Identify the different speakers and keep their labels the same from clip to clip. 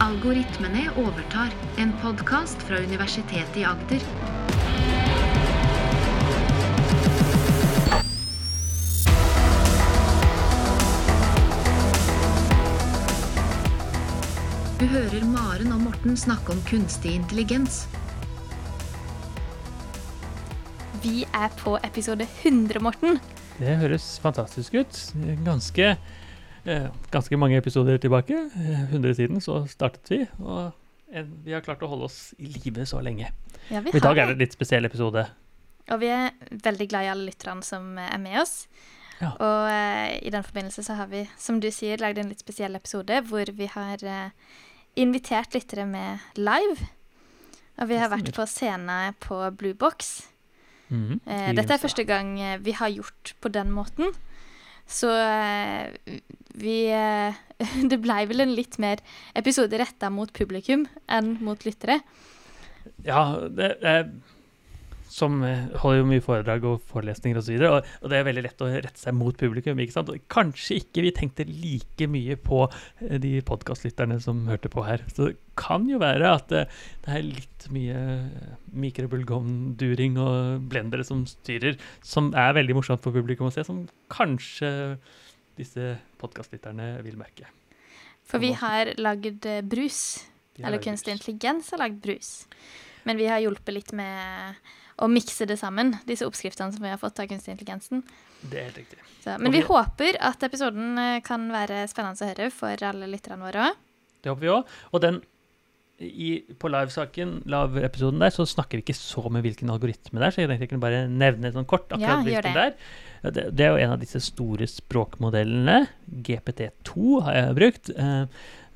Speaker 1: Algoritmene overtar. En podkast fra Universitetet i Agder. Du hører Maren og Morten snakke om kunstig intelligens.
Speaker 2: Vi er på episode 100, Morten.
Speaker 3: Det høres fantastisk ut. Ganske, eh, ganske mange episoder tilbake. eh, 100 siden så startet vi, og eh, vi har klart å holde oss i live så lenge.
Speaker 2: Ja, vi
Speaker 3: Og I dag
Speaker 2: har
Speaker 3: er det en litt spesiell episode.
Speaker 2: Og vi er veldig glad i alle lytterne som eh, er med oss.
Speaker 3: Ja.
Speaker 2: Og eh, i den forbindelse så har vi, som du sier, lagd en litt spesiell episode hvor vi har eh, invitert lyttere med live. Og vi har
Speaker 3: Det
Speaker 2: vært på scenen på Blue Box.
Speaker 3: Mhm.
Speaker 2: Eh,
Speaker 3: I
Speaker 2: dette er
Speaker 3: Grimstad.
Speaker 2: første gang eh, vi har gjort på den måten. Så eh, vi eh, Det blei vel en litt mer episode retta mot publikum enn mot lyttere.
Speaker 3: Ja, det er som eh, holder jo mye foredrag og forelesninger osv. Og, og det er veldig lett å rette seg mot publikum. ikke sant? Og Kanskje ikke vi tenkte like mye på eh, de podkastlytterne som hørte på her. Så det kan jo være at eh, det er litt mye eh, mikrobølgeovnduring og blendere som styrer, som er veldig morsomt for publikum å se, som kanskje disse podkastlytterne vil merke.
Speaker 2: For vi
Speaker 3: Og hva-
Speaker 2: har lagd eh, brus.
Speaker 3: De har
Speaker 2: Eller
Speaker 3: laget-
Speaker 2: kunstig intelligens har lagd brus. Men vi har hjulpet litt med å mikse det sammen, disse oppskriftene som vi har fått av kunstig intelligensen.
Speaker 3: Det er helt riktig.
Speaker 2: Så,
Speaker 3: Og
Speaker 2: men vi
Speaker 3: vi-
Speaker 2: håper at episoden eh, kan være spennende å høre for alle lytterne våre òg.
Speaker 3: Det håper vi òg. Og den i, på livesaken, live-episoden der, så snakker vi ikke så med hvilken algoritme det er, så jeg tenkte jeg kunne bare nevne sånn kort
Speaker 2: Ja, gjør
Speaker 3: akkurat hvilken det er. Ja, Det, det er jo en av disse store språkmodellene. GPT2 har jeg brukt. eh,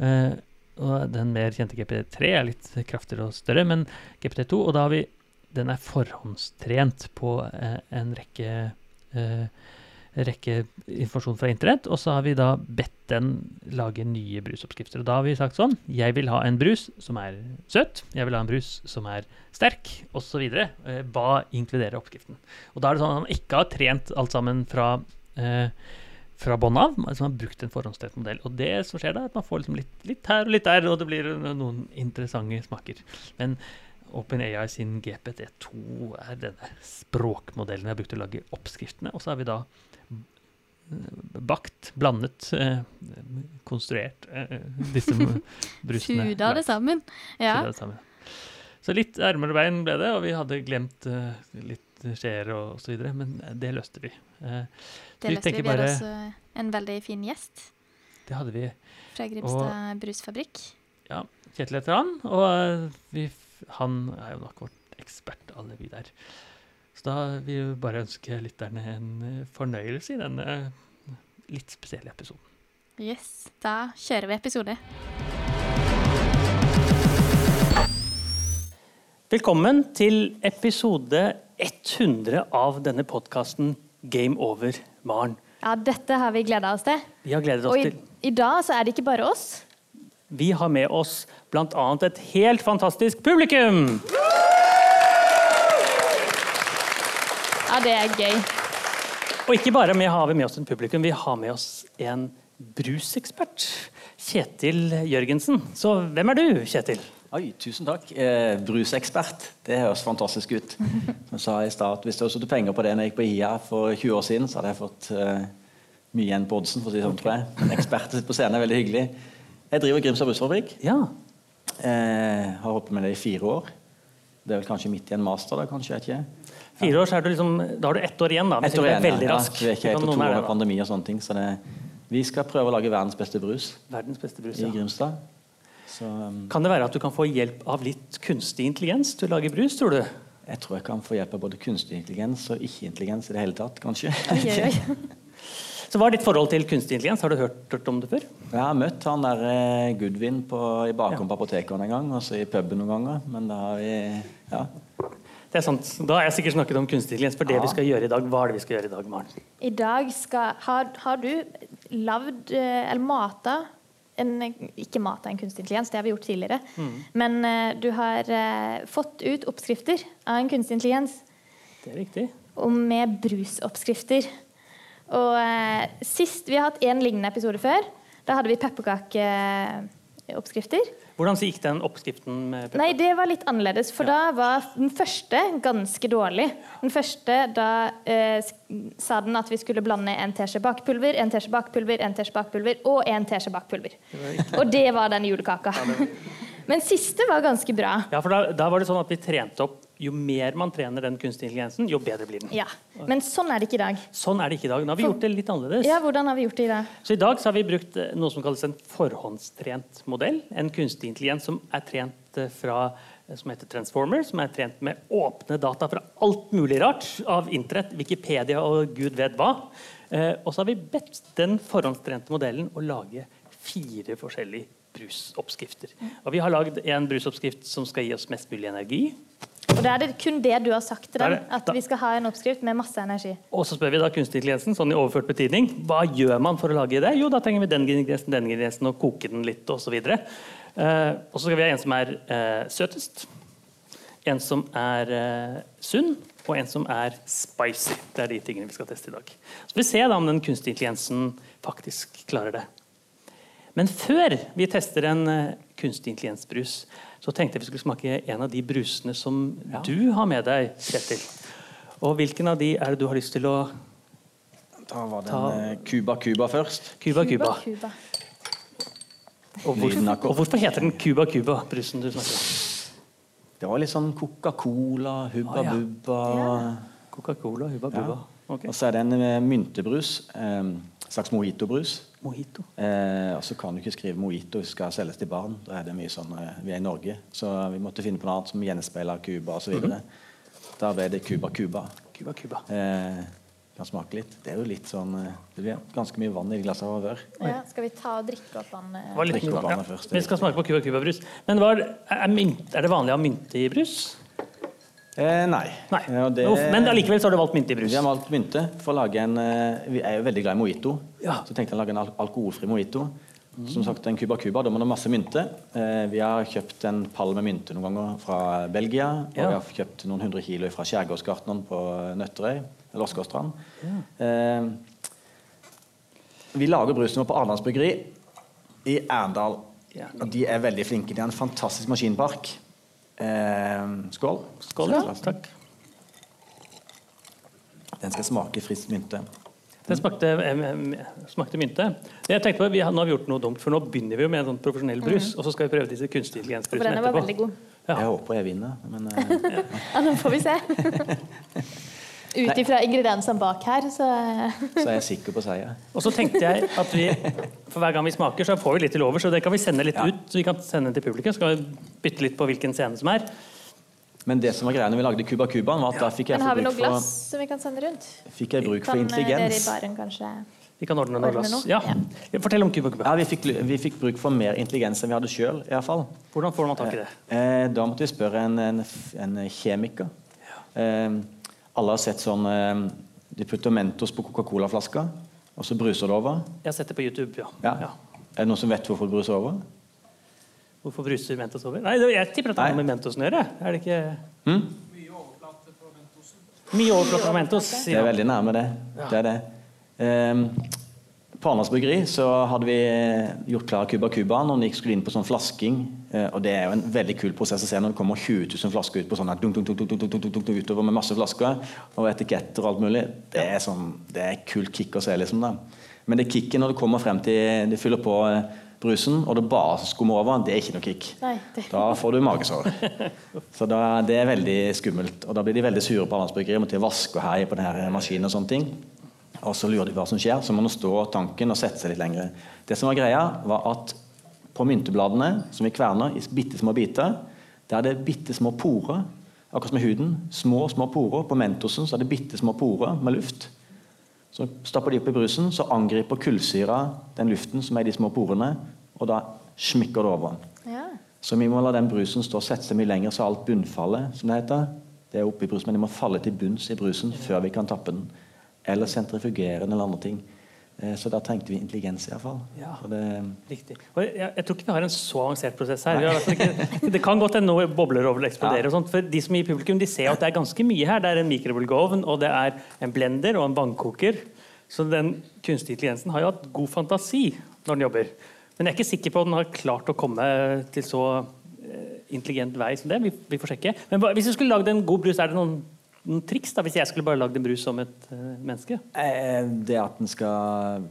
Speaker 3: eh, og den mer kjente GPT3 er litt kraftigere og større, men GPT2 Og da har vi Den er forhåndstrent på eh, en rekke eh, rekke informasjon fra internett, og så har vi da bedt den lage nye brusoppskrifter. Og da har vi sagt sånn Jeg vil ha en brus som er søt, jeg vil ha en brus som er sterk, osv. Hva inkluderer Eh, oppskriften? Og da er det sånn at man ikke har trent alt sammen fra eh, fra bånn av, altså man har brukt en forhåndstrent modell. Og det som skjer da, er at man får liksom litt, litt her og litt der, og det blir noen interessante smaker. Men OpenAI sin GPT2 er denne språkmodellen vi har brukt til å lage oppskriftene. Og så har vi da eh, bakt, blandet, eh, konstruert eh, disse m- brusene.
Speaker 2: Fuda det
Speaker 3: lagd.
Speaker 2: sammen. Ja.
Speaker 3: Fuda det sammen. Så litt ermer og bein ble det, og vi hadde glemt eh, litt skjeer og og så videre, men det løste vi. Eh,
Speaker 2: Det
Speaker 3: Vi
Speaker 2: løste vi.
Speaker 3: tenker
Speaker 2: Vi har
Speaker 3: bare-
Speaker 2: også en veldig fin gjest
Speaker 3: det hadde vi
Speaker 2: fra Grimstad brusfabrikk.
Speaker 3: Kjetil heter han, og eh, vi, f- han er jo nok vårt ekspert, alle vi der. Så da vil vi bare ønske lytterne en eh, fornøyelse i denne eh, litt spesielle episoden.
Speaker 2: Yes, da kjører vi episode.
Speaker 4: Velkommen til episode 100 av denne podkasten Game over Maren.
Speaker 5: Ja, dette har vi gleda oss til.
Speaker 4: Vi har gledet
Speaker 5: Og
Speaker 4: oss
Speaker 5: i,
Speaker 4: til
Speaker 5: i dag så er det ikke bare oss.
Speaker 4: Vi har med oss bl.a. et helt fantastisk publikum!
Speaker 5: Ja, det er gøy.
Speaker 4: Og ikke bare med har vi med oss et publikum, vi har med oss en brusekspert. Kjetil Jørgensen. Så hvem er du, Kjetil?
Speaker 6: Oi, tusen takk. Eh, brusekspert. Det høres fantastisk ut. Som jeg sa i start, Hvis det hadde stått penger på det når jeg gikk på IA for 20 år siden, så hadde jeg fått eh, mye igjen på oddsen. for å si det sånn, tror jeg. Men ekspert på scenen er veldig hyggelig. Jeg driver Grimstad Brusfabrikk.
Speaker 4: Ja.
Speaker 6: Eh, har holdt på med det i fire år. Det er vel kanskje midt i en master, da, kanskje? jeg vet ikke.
Speaker 4: Fire år, så er du liksom Da har du ett år igjen, da. hvis
Speaker 6: Et år
Speaker 4: du er
Speaker 6: igjen, ja.
Speaker 4: Veldig
Speaker 6: Ja,
Speaker 4: rask.
Speaker 6: Vi er ikke
Speaker 4: Kan
Speaker 6: helt på
Speaker 4: noen
Speaker 6: to
Speaker 4: være
Speaker 6: år
Speaker 4: det,
Speaker 6: med pandemi og sånne ting. Så det, vi skal prøve å lage verdens beste brus
Speaker 4: da. Verdens beste brus.
Speaker 6: i
Speaker 4: Ja.
Speaker 6: Grimstad. Så um,
Speaker 4: Kan det være at du kan få hjelp av litt kunstig intelligens til å lage brus, tror du?
Speaker 6: jeg tror jeg kan få hjelp av både kunstig intelligens og ikke-intelligens i det hele tatt, kanskje.
Speaker 5: Oi, oi, oi.
Speaker 4: Så Hva er ditt forhold til kunstig intelligens? Har du hørt, hørt om det før?
Speaker 6: Jeg har møtt han der eh, Goodwin på, i bakgården på apoteket en gang, og så i puben noen ganger. Men da har vi Ja.
Speaker 4: Det er sant. Da har jeg sikkert snakket om kunstig intelligens. For det vi skal gjøre i dag, hva er det vi skal gjøre i dag, Maren?
Speaker 5: I dag skal Har, har du lagd eh, eller mata en Ikke mata en kunstig intelligens, det har vi gjort tidligere. Men eh, du har eh, fått ut oppskrifter av en kunstig intelligens.
Speaker 4: Det er riktig.
Speaker 5: og med brusoppskrifter. Og eh, sist Vi har hatt én lignende episode før. Da hadde vi pepperkakeoppskrifter.
Speaker 3: Hvordan gikk den oppskriften? med pepper?
Speaker 5: Nei, det var litt annerledes, for da var den første ganske dårlig. Den første, da eh, s- sa den at vi skulle blande en teskje bakpulver, en teskje bakpulver, en teskje bakpulver og en teskje bakpulver. Og det var den julekaka. Men siste var ganske bra.
Speaker 3: Ja, for da, da var det sånn at vi trente opp Jo mer man trener den kunstige intelligensen, jo bedre blir den.
Speaker 5: Ja. Men sånn er det ikke i dag.
Speaker 3: Sånn er det ikke i dag. Nå har vi gjort det litt annerledes.
Speaker 5: Ja, hvordan har vi gjort det i dag?
Speaker 3: Så i dag så har vi brukt eh, noe som kalles en forhåndstrent modell. En kunstig intelligens som er trent eh, fra eh, som heter Transformer, som er trent med åpne data fra alt mulig rart av internett, Wikipedia og gud vet hva. Eh, Og så har vi bedt den forhåndstrente modellen å lage fire forskjellige brusoppskrifter. Og vi har lagd en brusoppskrift som skal gi oss mest mulig energi.
Speaker 5: Og da er det kun det du har sagt til
Speaker 3: Da er
Speaker 5: den,
Speaker 3: det-
Speaker 5: at
Speaker 3: da-
Speaker 5: vi skal ha en oppskrift med masse energi.
Speaker 3: Og så spør vi da kunstig intelligensen, sånn i overført betydning, hva gjør man for å lage det? Jo, da trenger vi den ingrediensen, den ingrediensen, og koke den litt, og så videre. Eh, og så skal vi ha en som er eh, søtest, en som er eh, sunn, og en som er spicy. Det er de tingene vi skal teste i dag. Så vi ser da om den kunstige intelligensen faktisk klarer det. Men før vi tester en eh, kunstig intelligensbrus, så tenkte jeg vi skulle smake en av de brusene som du har med deg, Kjetil. Og hvilken av de er det du har lyst til å
Speaker 6: Da var det
Speaker 3: Ta-
Speaker 6: en, eh, Cuba Cuba først.
Speaker 3: Cuba Cuba.
Speaker 5: Cuba.
Speaker 3: Og, hvor,
Speaker 6: Lyden av kopp.
Speaker 3: og hvorfor heter den Cuba Cuba, brusen du snakker om?
Speaker 6: Det var litt sånn Coca-Cola, Hubba
Speaker 3: Å, ja.
Speaker 6: Bubba
Speaker 3: Coca-Cola, Huba
Speaker 6: ja.
Speaker 3: Buba. Ok.
Speaker 6: Og så er det en eh, myntebrus. En slags mojitobrus.
Speaker 3: Mojito.
Speaker 6: Eh, og så kan du ikke skrive mojito hvis det skal selges til barn. Da er det mye sånn eh, Vi er i Norge, så vi måtte finne på noe annet som gjenspeiler Cuba osv. videre Da ble det Cuba Cuba.
Speaker 3: Cuba Cuba.
Speaker 6: Eh, kan smake litt. Det er jo litt sånn eh, Det blir ganske mye vann i glasset fra før.
Speaker 5: Ja, skal vi ta og drikke opp den?
Speaker 3: Det
Speaker 5: eh?
Speaker 3: var litt
Speaker 6: Drikke opp
Speaker 3: mye vann,
Speaker 6: vannet
Speaker 3: ja.
Speaker 6: først, det er
Speaker 3: Vi skal smake på Cuba Cuba-brus. Men hva er, er, mynt, er det vanlig å ha mynte i brus?
Speaker 6: Eh, nei.
Speaker 3: Nei.
Speaker 6: Eh, og det-
Speaker 3: Men hvorfor- Men allikevel så har du valgt mynte i brus.
Speaker 6: Vi har malt mynte for å lage en eh, Vi er jo veldig glad i mojito.
Speaker 3: Ja.
Speaker 6: Så tenkte jeg å lage en al alkoholfri mojito. Som sagt, en Cuba Cuba. Da må det ha masse mynte. Eh, vi har kjøpt en pall med mynte noen ganger fra Belgia. Og
Speaker 3: Ja.
Speaker 6: vi har kjøpt noen hundre kilo fra skjærgårdsgartneren på Nøtterøy. Eller Åsgårdstrand. Eh, vi lager brusen vår på Arendals Bryggeri i Arendal.
Speaker 3: Ja.
Speaker 6: Og de er veldig flinke. De har en fantastisk maskinpark. Eh, skål.
Speaker 3: Skål, ja. Takk.
Speaker 6: Den skal smake frisk mynte.
Speaker 3: Det smakte, em, em, smakte mynte. Det Jeg tenkte på, vi har, nå har vi gjort noe dumt, for nå begynner vi jo med en sånn profesjonell brus,
Speaker 6: Mm.
Speaker 3: og så skal vi prøve disse kunstig
Speaker 5: For
Speaker 3: intelligens-brusene
Speaker 5: denne var
Speaker 3: etterpå.
Speaker 5: veldig god.
Speaker 3: Ja.
Speaker 6: Jeg håper jeg vinner, men eh,
Speaker 5: Ja, nå får vi se. Ut ifra ingrediensene bak her, så eh,
Speaker 6: så er jeg sikker på seier.
Speaker 3: Og så tenkte jeg at vi, for hver gang vi smaker, så får vi litt til over, så det kan vi sende litt
Speaker 6: Ja.
Speaker 3: ut, så vi kan sende den til publikum, så kan vi bytte litt på hvilken scene som er.
Speaker 6: Men det som var greia når vi lagde Cuba Cubaen, var at da fikk jeg,
Speaker 5: Men har vi
Speaker 6: bruk
Speaker 5: noe
Speaker 6: for,
Speaker 5: glass som vi kan sende rundt?
Speaker 6: fikk jeg bruk for
Speaker 5: Kan eh, dere i
Speaker 6: intelligens.
Speaker 5: baren kanskje
Speaker 3: Vi kan ordne noe
Speaker 5: Ordne
Speaker 3: glass.
Speaker 5: noe?
Speaker 3: Ja. Fortell om Cuba Cuba.
Speaker 6: Ja, vi fikk, vi fikk bruk for mer intelligens enn vi hadde sjøl, iallfall.
Speaker 3: Hvordan får man tak i det?
Speaker 6: Eh, da måtte vi spørre en, en, f- en kjemiker. Eh, alle har sett sånn eh, De putter Mentos på Coca-Cola-flaska, og så bruser det over.
Speaker 3: Jeg har sett det på YouTube, ja.
Speaker 6: Ja.
Speaker 3: Ja.
Speaker 6: Er det noen som vet hvorfor det bruser over?
Speaker 3: Hvorfor bruser Mentos over? Nei, det- jeg tipper at det har
Speaker 6: Nei. Hm?
Speaker 3: noe med Mentosen å gjøre. Er det ikke Mye overflate fra Mentos.
Speaker 6: Det er
Speaker 3: ja.
Speaker 6: veldig nærme det. Det er det. Eh, på Arendals Bryggeri så hadde vi gjort klar Cuba Cubaen, og den gikk skulle inn på sånn flasking. Eh, og det er jo en veldig kul prosess å se når det kommer 20 000 flasker ut på sånn her dunk, dunk, dunk, dunk, dunk, dunk, dunk, dunk, utover med masse flasker og etiketter og alt mulig. Det er sånn, det er kult kick å se, liksom. da. Men det kicket når det kommer frem til det fyller på eh, brusen, og det bare skummer over, det er ikke noe kick.
Speaker 5: Nei, det-
Speaker 6: Da får du magesår. Så da, det er veldig skummelt. Og da blir de veldig sure på Arendalsbryggeriet. Måtte vaske og heie på den her maskinen og sånne ting. Og så lurer de på hva som skjer. Så må de stå tanken og sette seg litt lenger. Det som var greia, var at på myntebladene, som vi kverner i bitte små biter, der er det bitte små porer. Akkurat som i huden. Små, små porer. På Mentosen så er det bitte små porer med luft. Så stapper de opp i brusen, så angriper kullsyra den luften som er i de små porene, og da smikker det over.
Speaker 5: Ja.
Speaker 6: Så vi må la den brusen stå og sette seg mye lenger, så alt bunnfallet, som det heter, det er oppe i brusen, men det må falle til bunns i brusen før vi kan tappe den. Eller sentrifugere den eller andre ting. Eh, Så da trengte vi intelligens iallfall.
Speaker 3: Ja.
Speaker 6: Det,
Speaker 3: Riktig. Og jeg, jeg tror ikke vi har en så avansert prosess her. Vi har i hvert fall ikke, det kan godt hende noe bobler over og eksploderer.
Speaker 6: Ja.
Speaker 3: Og sånt, for de som er i publikum, de ser jo at det er ganske mye her. Det er en mikrobølgeovn, og det er en blender og en vannkoker. Så den kunstige intelligensen har jo hatt god fantasi når den jobber. Men jeg er ikke sikker på om den har klart å komme til så eh, intelligent vei som det. Vi, vi får sjekke. Men hva- hvis du skulle lagd en god brus, er det noen, noen triks? da, Hvis jeg skulle bare lagd en brus som et eh, menneske?
Speaker 6: Eh, Det at en skal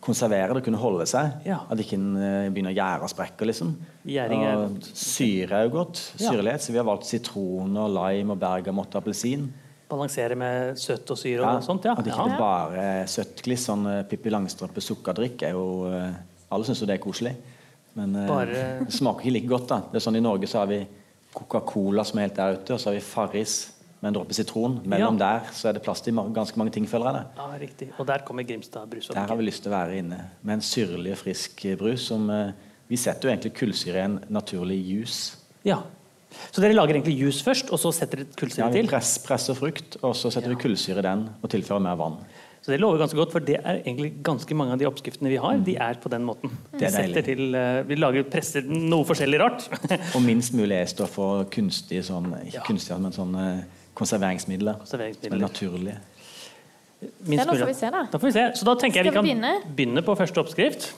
Speaker 6: konservere det, kunne holde seg.
Speaker 3: Ja.
Speaker 6: At ikke en eh, begynner å gjære sprekker, liksom.
Speaker 3: Gjæring er-
Speaker 6: Og Syre er jo godt.
Speaker 3: Ja.
Speaker 6: Syrlighet. Så vi har valgt sitron og lime og bergamott og appelsin.
Speaker 3: Balansere med søtt og syre og sånt? ja.
Speaker 6: At ikke
Speaker 3: ja.
Speaker 6: det bare er søtt gliss. Sånn eh, Pippi Langstrømpe sukkerdrikk er jo eh, Alle syns jo det er koselig. Men eh,
Speaker 3: Bare-
Speaker 6: det smaker ikke like godt, da. Det er sånn I Norge så har vi Coca-Cola som er helt der ute, og så har vi Farris med en dråpe sitron. Mellom der så er det plass til ma- ganske mange ting, føler jeg. det.
Speaker 3: Ja, riktig. Og der kommer Grimstad-brus.
Speaker 6: Der har vi lyst til å være inne med en syrlig og frisk eh, brus som eh, Vi setter jo egentlig kullsyre i en naturlig juice.
Speaker 3: Ja. Så dere lager egentlig juice først, og så setter dere
Speaker 6: Ja,
Speaker 3: kullsyre
Speaker 6: vi
Speaker 3: til?
Speaker 6: press, presser frukt, og så setter vi kullsyre i den og tilfører mer vann.
Speaker 3: Så det lover ganske godt, for det er egentlig ganske mange av de oppskriftene vi har, de er på den måten.
Speaker 6: Mm. Det er
Speaker 3: vi setter
Speaker 6: deilig.
Speaker 3: til, eh, vi lager presser noe forskjellig rart.
Speaker 6: Og minst mulig E-stoff og kunstige sånn, ikke kunstige, men sånn eh, konserveringsmidler.
Speaker 3: Konserveringsmidler.
Speaker 6: Som er naturlige.
Speaker 3: Minst
Speaker 5: Ja, nå
Speaker 3: mulig.
Speaker 5: får vi se, da.
Speaker 3: Da får vi se. Så da tenker jeg vi
Speaker 5: Skal
Speaker 3: kan
Speaker 5: vi
Speaker 3: begynne? på første oppskrift.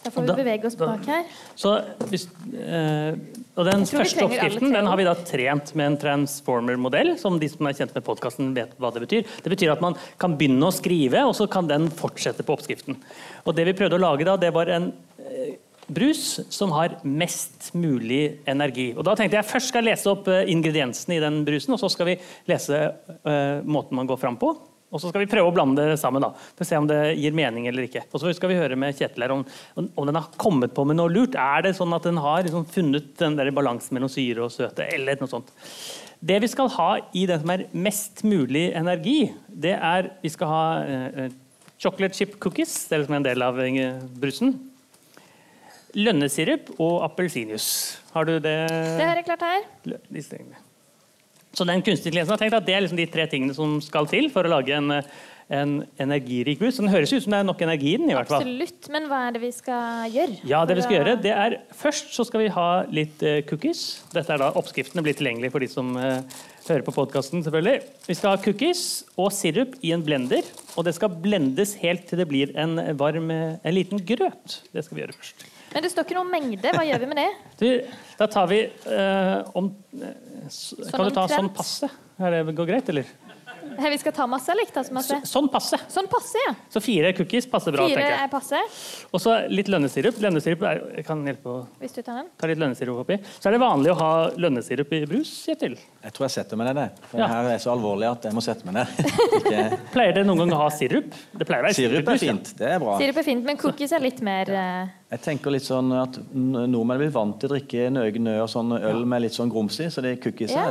Speaker 5: Da får
Speaker 3: Da-
Speaker 5: vi bevege oss
Speaker 3: da-
Speaker 5: bak her.
Speaker 3: Så hvis, eh, og den
Speaker 5: tror vi
Speaker 3: første
Speaker 5: trenger alle
Speaker 3: oppskriften
Speaker 5: tre.
Speaker 3: den har vi da trent med en transformer-modell, som de som er kjent med podkasten, vet hva det betyr. Det betyr at man kan begynne å skrive, og så kan den fortsette på oppskriften. Og det vi prøvde å lage da, det var en eh, brus som har mest mulig energi. Og da tenkte jeg først skal jeg lese opp eh, ingrediensene i den brusen, og så skal vi lese eh, måten man går fram på. Og så skal vi prøve å blande det sammen, da, for å se om det gir mening eller ikke. Og så skal vi høre med Kjetil her om, om om den har kommet på med noe lurt. Er det sånn at den har liksom funnet den der balansen mellom syre og søte, eller noe sånt? Det vi skal ha i den som er mest mulig energi, det er Vi skal ha eh, eh, chocolate chip cookies, det er liksom en del av eh, brusen. Lønnesirup og appelsinjuice. Har du det?
Speaker 5: Det har jeg klart her.
Speaker 3: Lø- disse tingene. Så den kunstige intelligensen har tenkt at det er liksom de tre tingene som skal til for å lage en, eh, en energirik brus. Så Den høres ut som det er nok energi i den. i hvert fall.
Speaker 5: Absolutt. Men hva er det vi skal gjøre?
Speaker 3: Ja, det vi skal
Speaker 5: For å-
Speaker 3: gjøre, det er Først så skal vi ha litt eh, cookies. Dette er da Oppskriftene blir tilgjengelige for de som eh, hører på podkasten. Vi skal ha cookies og sirup i en blender. Og det skal blendes helt til det blir en varm, eh, en liten grøt. Det skal vi gjøre først.
Speaker 5: Men det står ikke noen mengde. Hva gjør vi med det?
Speaker 3: Du, da tar vi eh, om eh, s- Kan du ta sånn
Speaker 5: omtrent?
Speaker 3: passe? Er det går greit, eller?
Speaker 5: Her, Vi skal ta masse eller ikke ta så masse?
Speaker 3: Så, sånn passe.
Speaker 5: Sånn passe, ja.
Speaker 3: Så fire cookies passer bra.
Speaker 5: Fire
Speaker 3: tenker
Speaker 5: er
Speaker 3: jeg.
Speaker 5: passe.
Speaker 3: Og så litt lønnesirup. lønnesirup er, jeg kan hjelpe å
Speaker 5: Hvis du tar den.
Speaker 3: ta litt lønnesirup oppi. Så er det vanlig å ha lønnesirup i brus, Kjetil.
Speaker 6: Jeg tror jeg setter meg ned der. For
Speaker 3: Ja.
Speaker 6: det her er så alvorlig at jeg må sette meg ned. Ikke,
Speaker 3: Pleier dere noen gang å ha sirup? Det pleier å være
Speaker 6: sirup
Speaker 3: i
Speaker 6: er
Speaker 3: brus, ja.
Speaker 6: fint. Det er bra.
Speaker 5: Sirup er fint, men cookies er litt mer eh,
Speaker 6: Jeg tenker litt sånn at n- Nordmenn blir vant til å drikke nøye nø og sånn øl med litt sånn grums i, så de cookiesene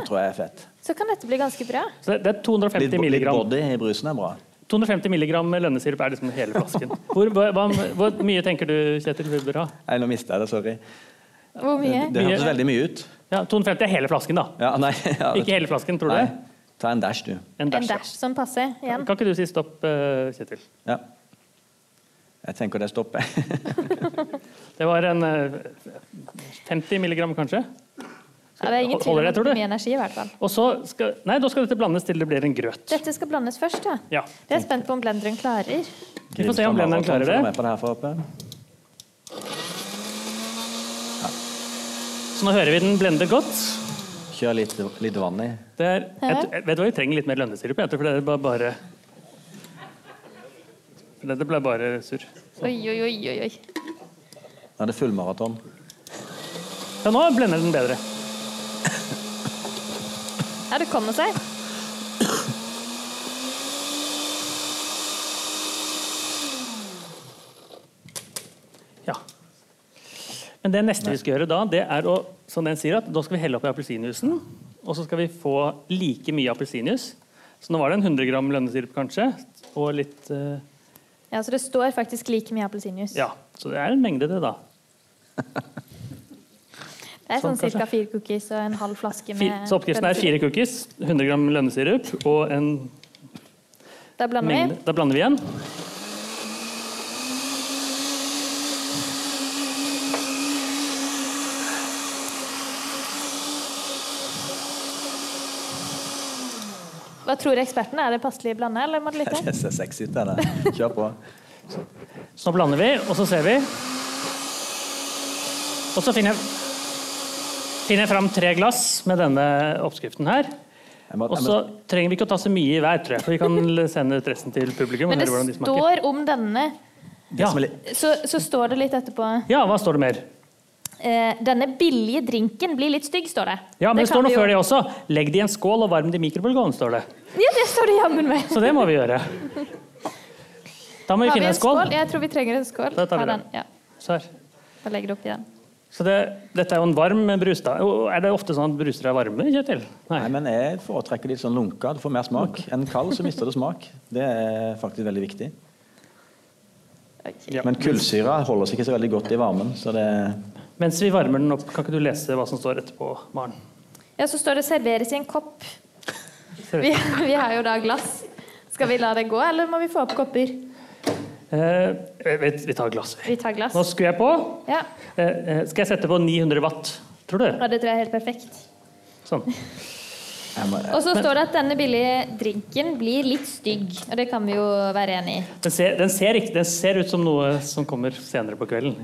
Speaker 5: Ja.
Speaker 6: tror jeg er fett.
Speaker 5: Så kan dette bli ganske bra.
Speaker 3: Så det, det er
Speaker 6: Litt,
Speaker 3: 250
Speaker 6: litt
Speaker 3: milligram.
Speaker 6: body i brusen er bra.
Speaker 3: 250 milligram lønnesirup er liksom hele flasken. Hvor, hva, hva- hvor mye tenker du, Kjetil, vi bør ha?
Speaker 6: Nei, nå mista jeg det. Sorry.
Speaker 5: Hvor mye?
Speaker 6: Det hørtes veldig mye ut.
Speaker 3: Ja, 250 er hele flasken, da.
Speaker 6: Ja, nei, ja.
Speaker 3: Ikke hele flasken, tror du?
Speaker 6: Nei.
Speaker 3: det?
Speaker 6: Ta en dash, du.
Speaker 3: En
Speaker 5: En
Speaker 3: dash.
Speaker 5: dash som passer
Speaker 3: Kan
Speaker 5: igjen.
Speaker 3: ikke du si stopp, eh, Kjetil?
Speaker 6: Ja. Jeg tenker det stopper.
Speaker 3: Det var en eh, 50 milligram, kanskje?
Speaker 5: Ja, det er ingen tvil
Speaker 3: Holder
Speaker 5: om
Speaker 3: det,
Speaker 5: at
Speaker 3: tror
Speaker 5: det
Speaker 3: du?
Speaker 5: blir mye energi, i hvert fall.
Speaker 3: Og så skal, nei, da skal dette blandes til det blir en grøt.
Speaker 5: Dette skal blandes først, ja.
Speaker 3: Ja.
Speaker 5: Jeg er spent på om blenderen klarer.
Speaker 3: Vi får se om blenderen klarer
Speaker 6: Følger
Speaker 3: det.
Speaker 6: med på det her for oppe.
Speaker 3: Så nå hører vi den blende godt.
Speaker 6: Kjør litt, litt vann i.
Speaker 3: Det er, jeg, jeg vet du hva, vi trenger litt mer lønnesirup, jeg, for det er bare, bare Dette ble bare surr.
Speaker 5: Oi, oi, oi, oi, oi.
Speaker 6: Nå er det fullmaraton.
Speaker 3: Ja, nå blender den bedre.
Speaker 5: Ja, det kommer seg.
Speaker 3: Ja. Men det neste vi skal gjøre da, det er å som den sier at da skal vi helle oppi appelsinjuicen. Og så skal vi få like mye appelsinjuice. Så nå var det en 100 gram lønnesirup kanskje. Og litt eh,
Speaker 5: Ja, Så det står faktisk like mye appelsinjuice.
Speaker 3: Ja. Så det er en mengde, det, da.
Speaker 5: Det er sånn
Speaker 3: sånn,
Speaker 5: ca. fire cookies og en halv flaske
Speaker 3: Fi-
Speaker 5: med
Speaker 3: Så oppskriften er fire cookies, 100 gram lønnesirup og en
Speaker 5: Da blander
Speaker 3: mengde
Speaker 5: vi.
Speaker 3: Da blander vi igjen.
Speaker 5: Hva tror ekspertene? Er det passelig blanda, eller må det litt til?
Speaker 6: Det ser sexy ut, det der. Kjør på.
Speaker 3: Så nå blander vi, og så ser vi. Og så finner jeg, finner jeg fram tre glass med denne oppskriften her.
Speaker 6: Jeg må,
Speaker 3: Og
Speaker 6: jeg
Speaker 3: så
Speaker 6: må,
Speaker 3: trenger vi ikke å ta så mye i hver, tror jeg, for vi kan sende ut resten til publikum. og
Speaker 5: Men det
Speaker 3: høre hvordan de smaker.
Speaker 5: står om denne
Speaker 6: det som
Speaker 3: Ja.
Speaker 6: er litt-
Speaker 5: så, så står det litt etterpå
Speaker 3: ja, hva står det mer?
Speaker 5: eh, Denne billige drinken blir litt stygg, står det.
Speaker 3: Ja, men det,
Speaker 5: kan
Speaker 3: står noe
Speaker 5: vi jo-
Speaker 3: før det også. Legg det i en skål og varm det i mikrobølgeovnen, står det.
Speaker 5: Ja, det står det jammen med.
Speaker 3: Så det må vi gjøre. Da må vi
Speaker 5: Har vi
Speaker 3: finne
Speaker 5: en
Speaker 3: en skål.
Speaker 5: skål? Jeg tror vi trenger en skål.
Speaker 3: Da tar vi
Speaker 5: Ta
Speaker 3: den.
Speaker 5: Ja,
Speaker 3: Så, her.
Speaker 5: da legger du oppi den.
Speaker 3: så det, dette er jo en varm brus, da. Og Er det ofte sånn at bruser er varme, Kjetil? Nei.
Speaker 6: Nei, men jeg foretrekker litt sånn lunka. Du får mer smak. En kald, så mister du smak. Det er faktisk veldig viktig.
Speaker 5: Ok.
Speaker 3: Ja.
Speaker 6: Men kullsyra holder seg ikke så veldig godt i varmen, så det
Speaker 3: Mens vi varmer den opp, kan ikke du lese hva som står etterpå, Maren?
Speaker 5: Ja, så står det 'serveres i en kopp'. Vi, vi har jo da glass. Skal vi la det gå, eller må vi få opp kopper?
Speaker 3: Eh, vi, vi tar glass.
Speaker 5: Vi tar glass.
Speaker 3: Nå skrur jeg på.
Speaker 5: Ja,
Speaker 3: Eh, eh, skal jeg sette på 900 watt, tror du?
Speaker 5: ja Det tror jeg er helt perfekt.
Speaker 3: Sånn.
Speaker 6: jeg må,
Speaker 5: Og så står det at denne billige drinken blir litt stygg. Og det kan vi jo være enig i.
Speaker 3: Den ser, den, ser ikke, den ser ut som noe som kommer senere på kvelden.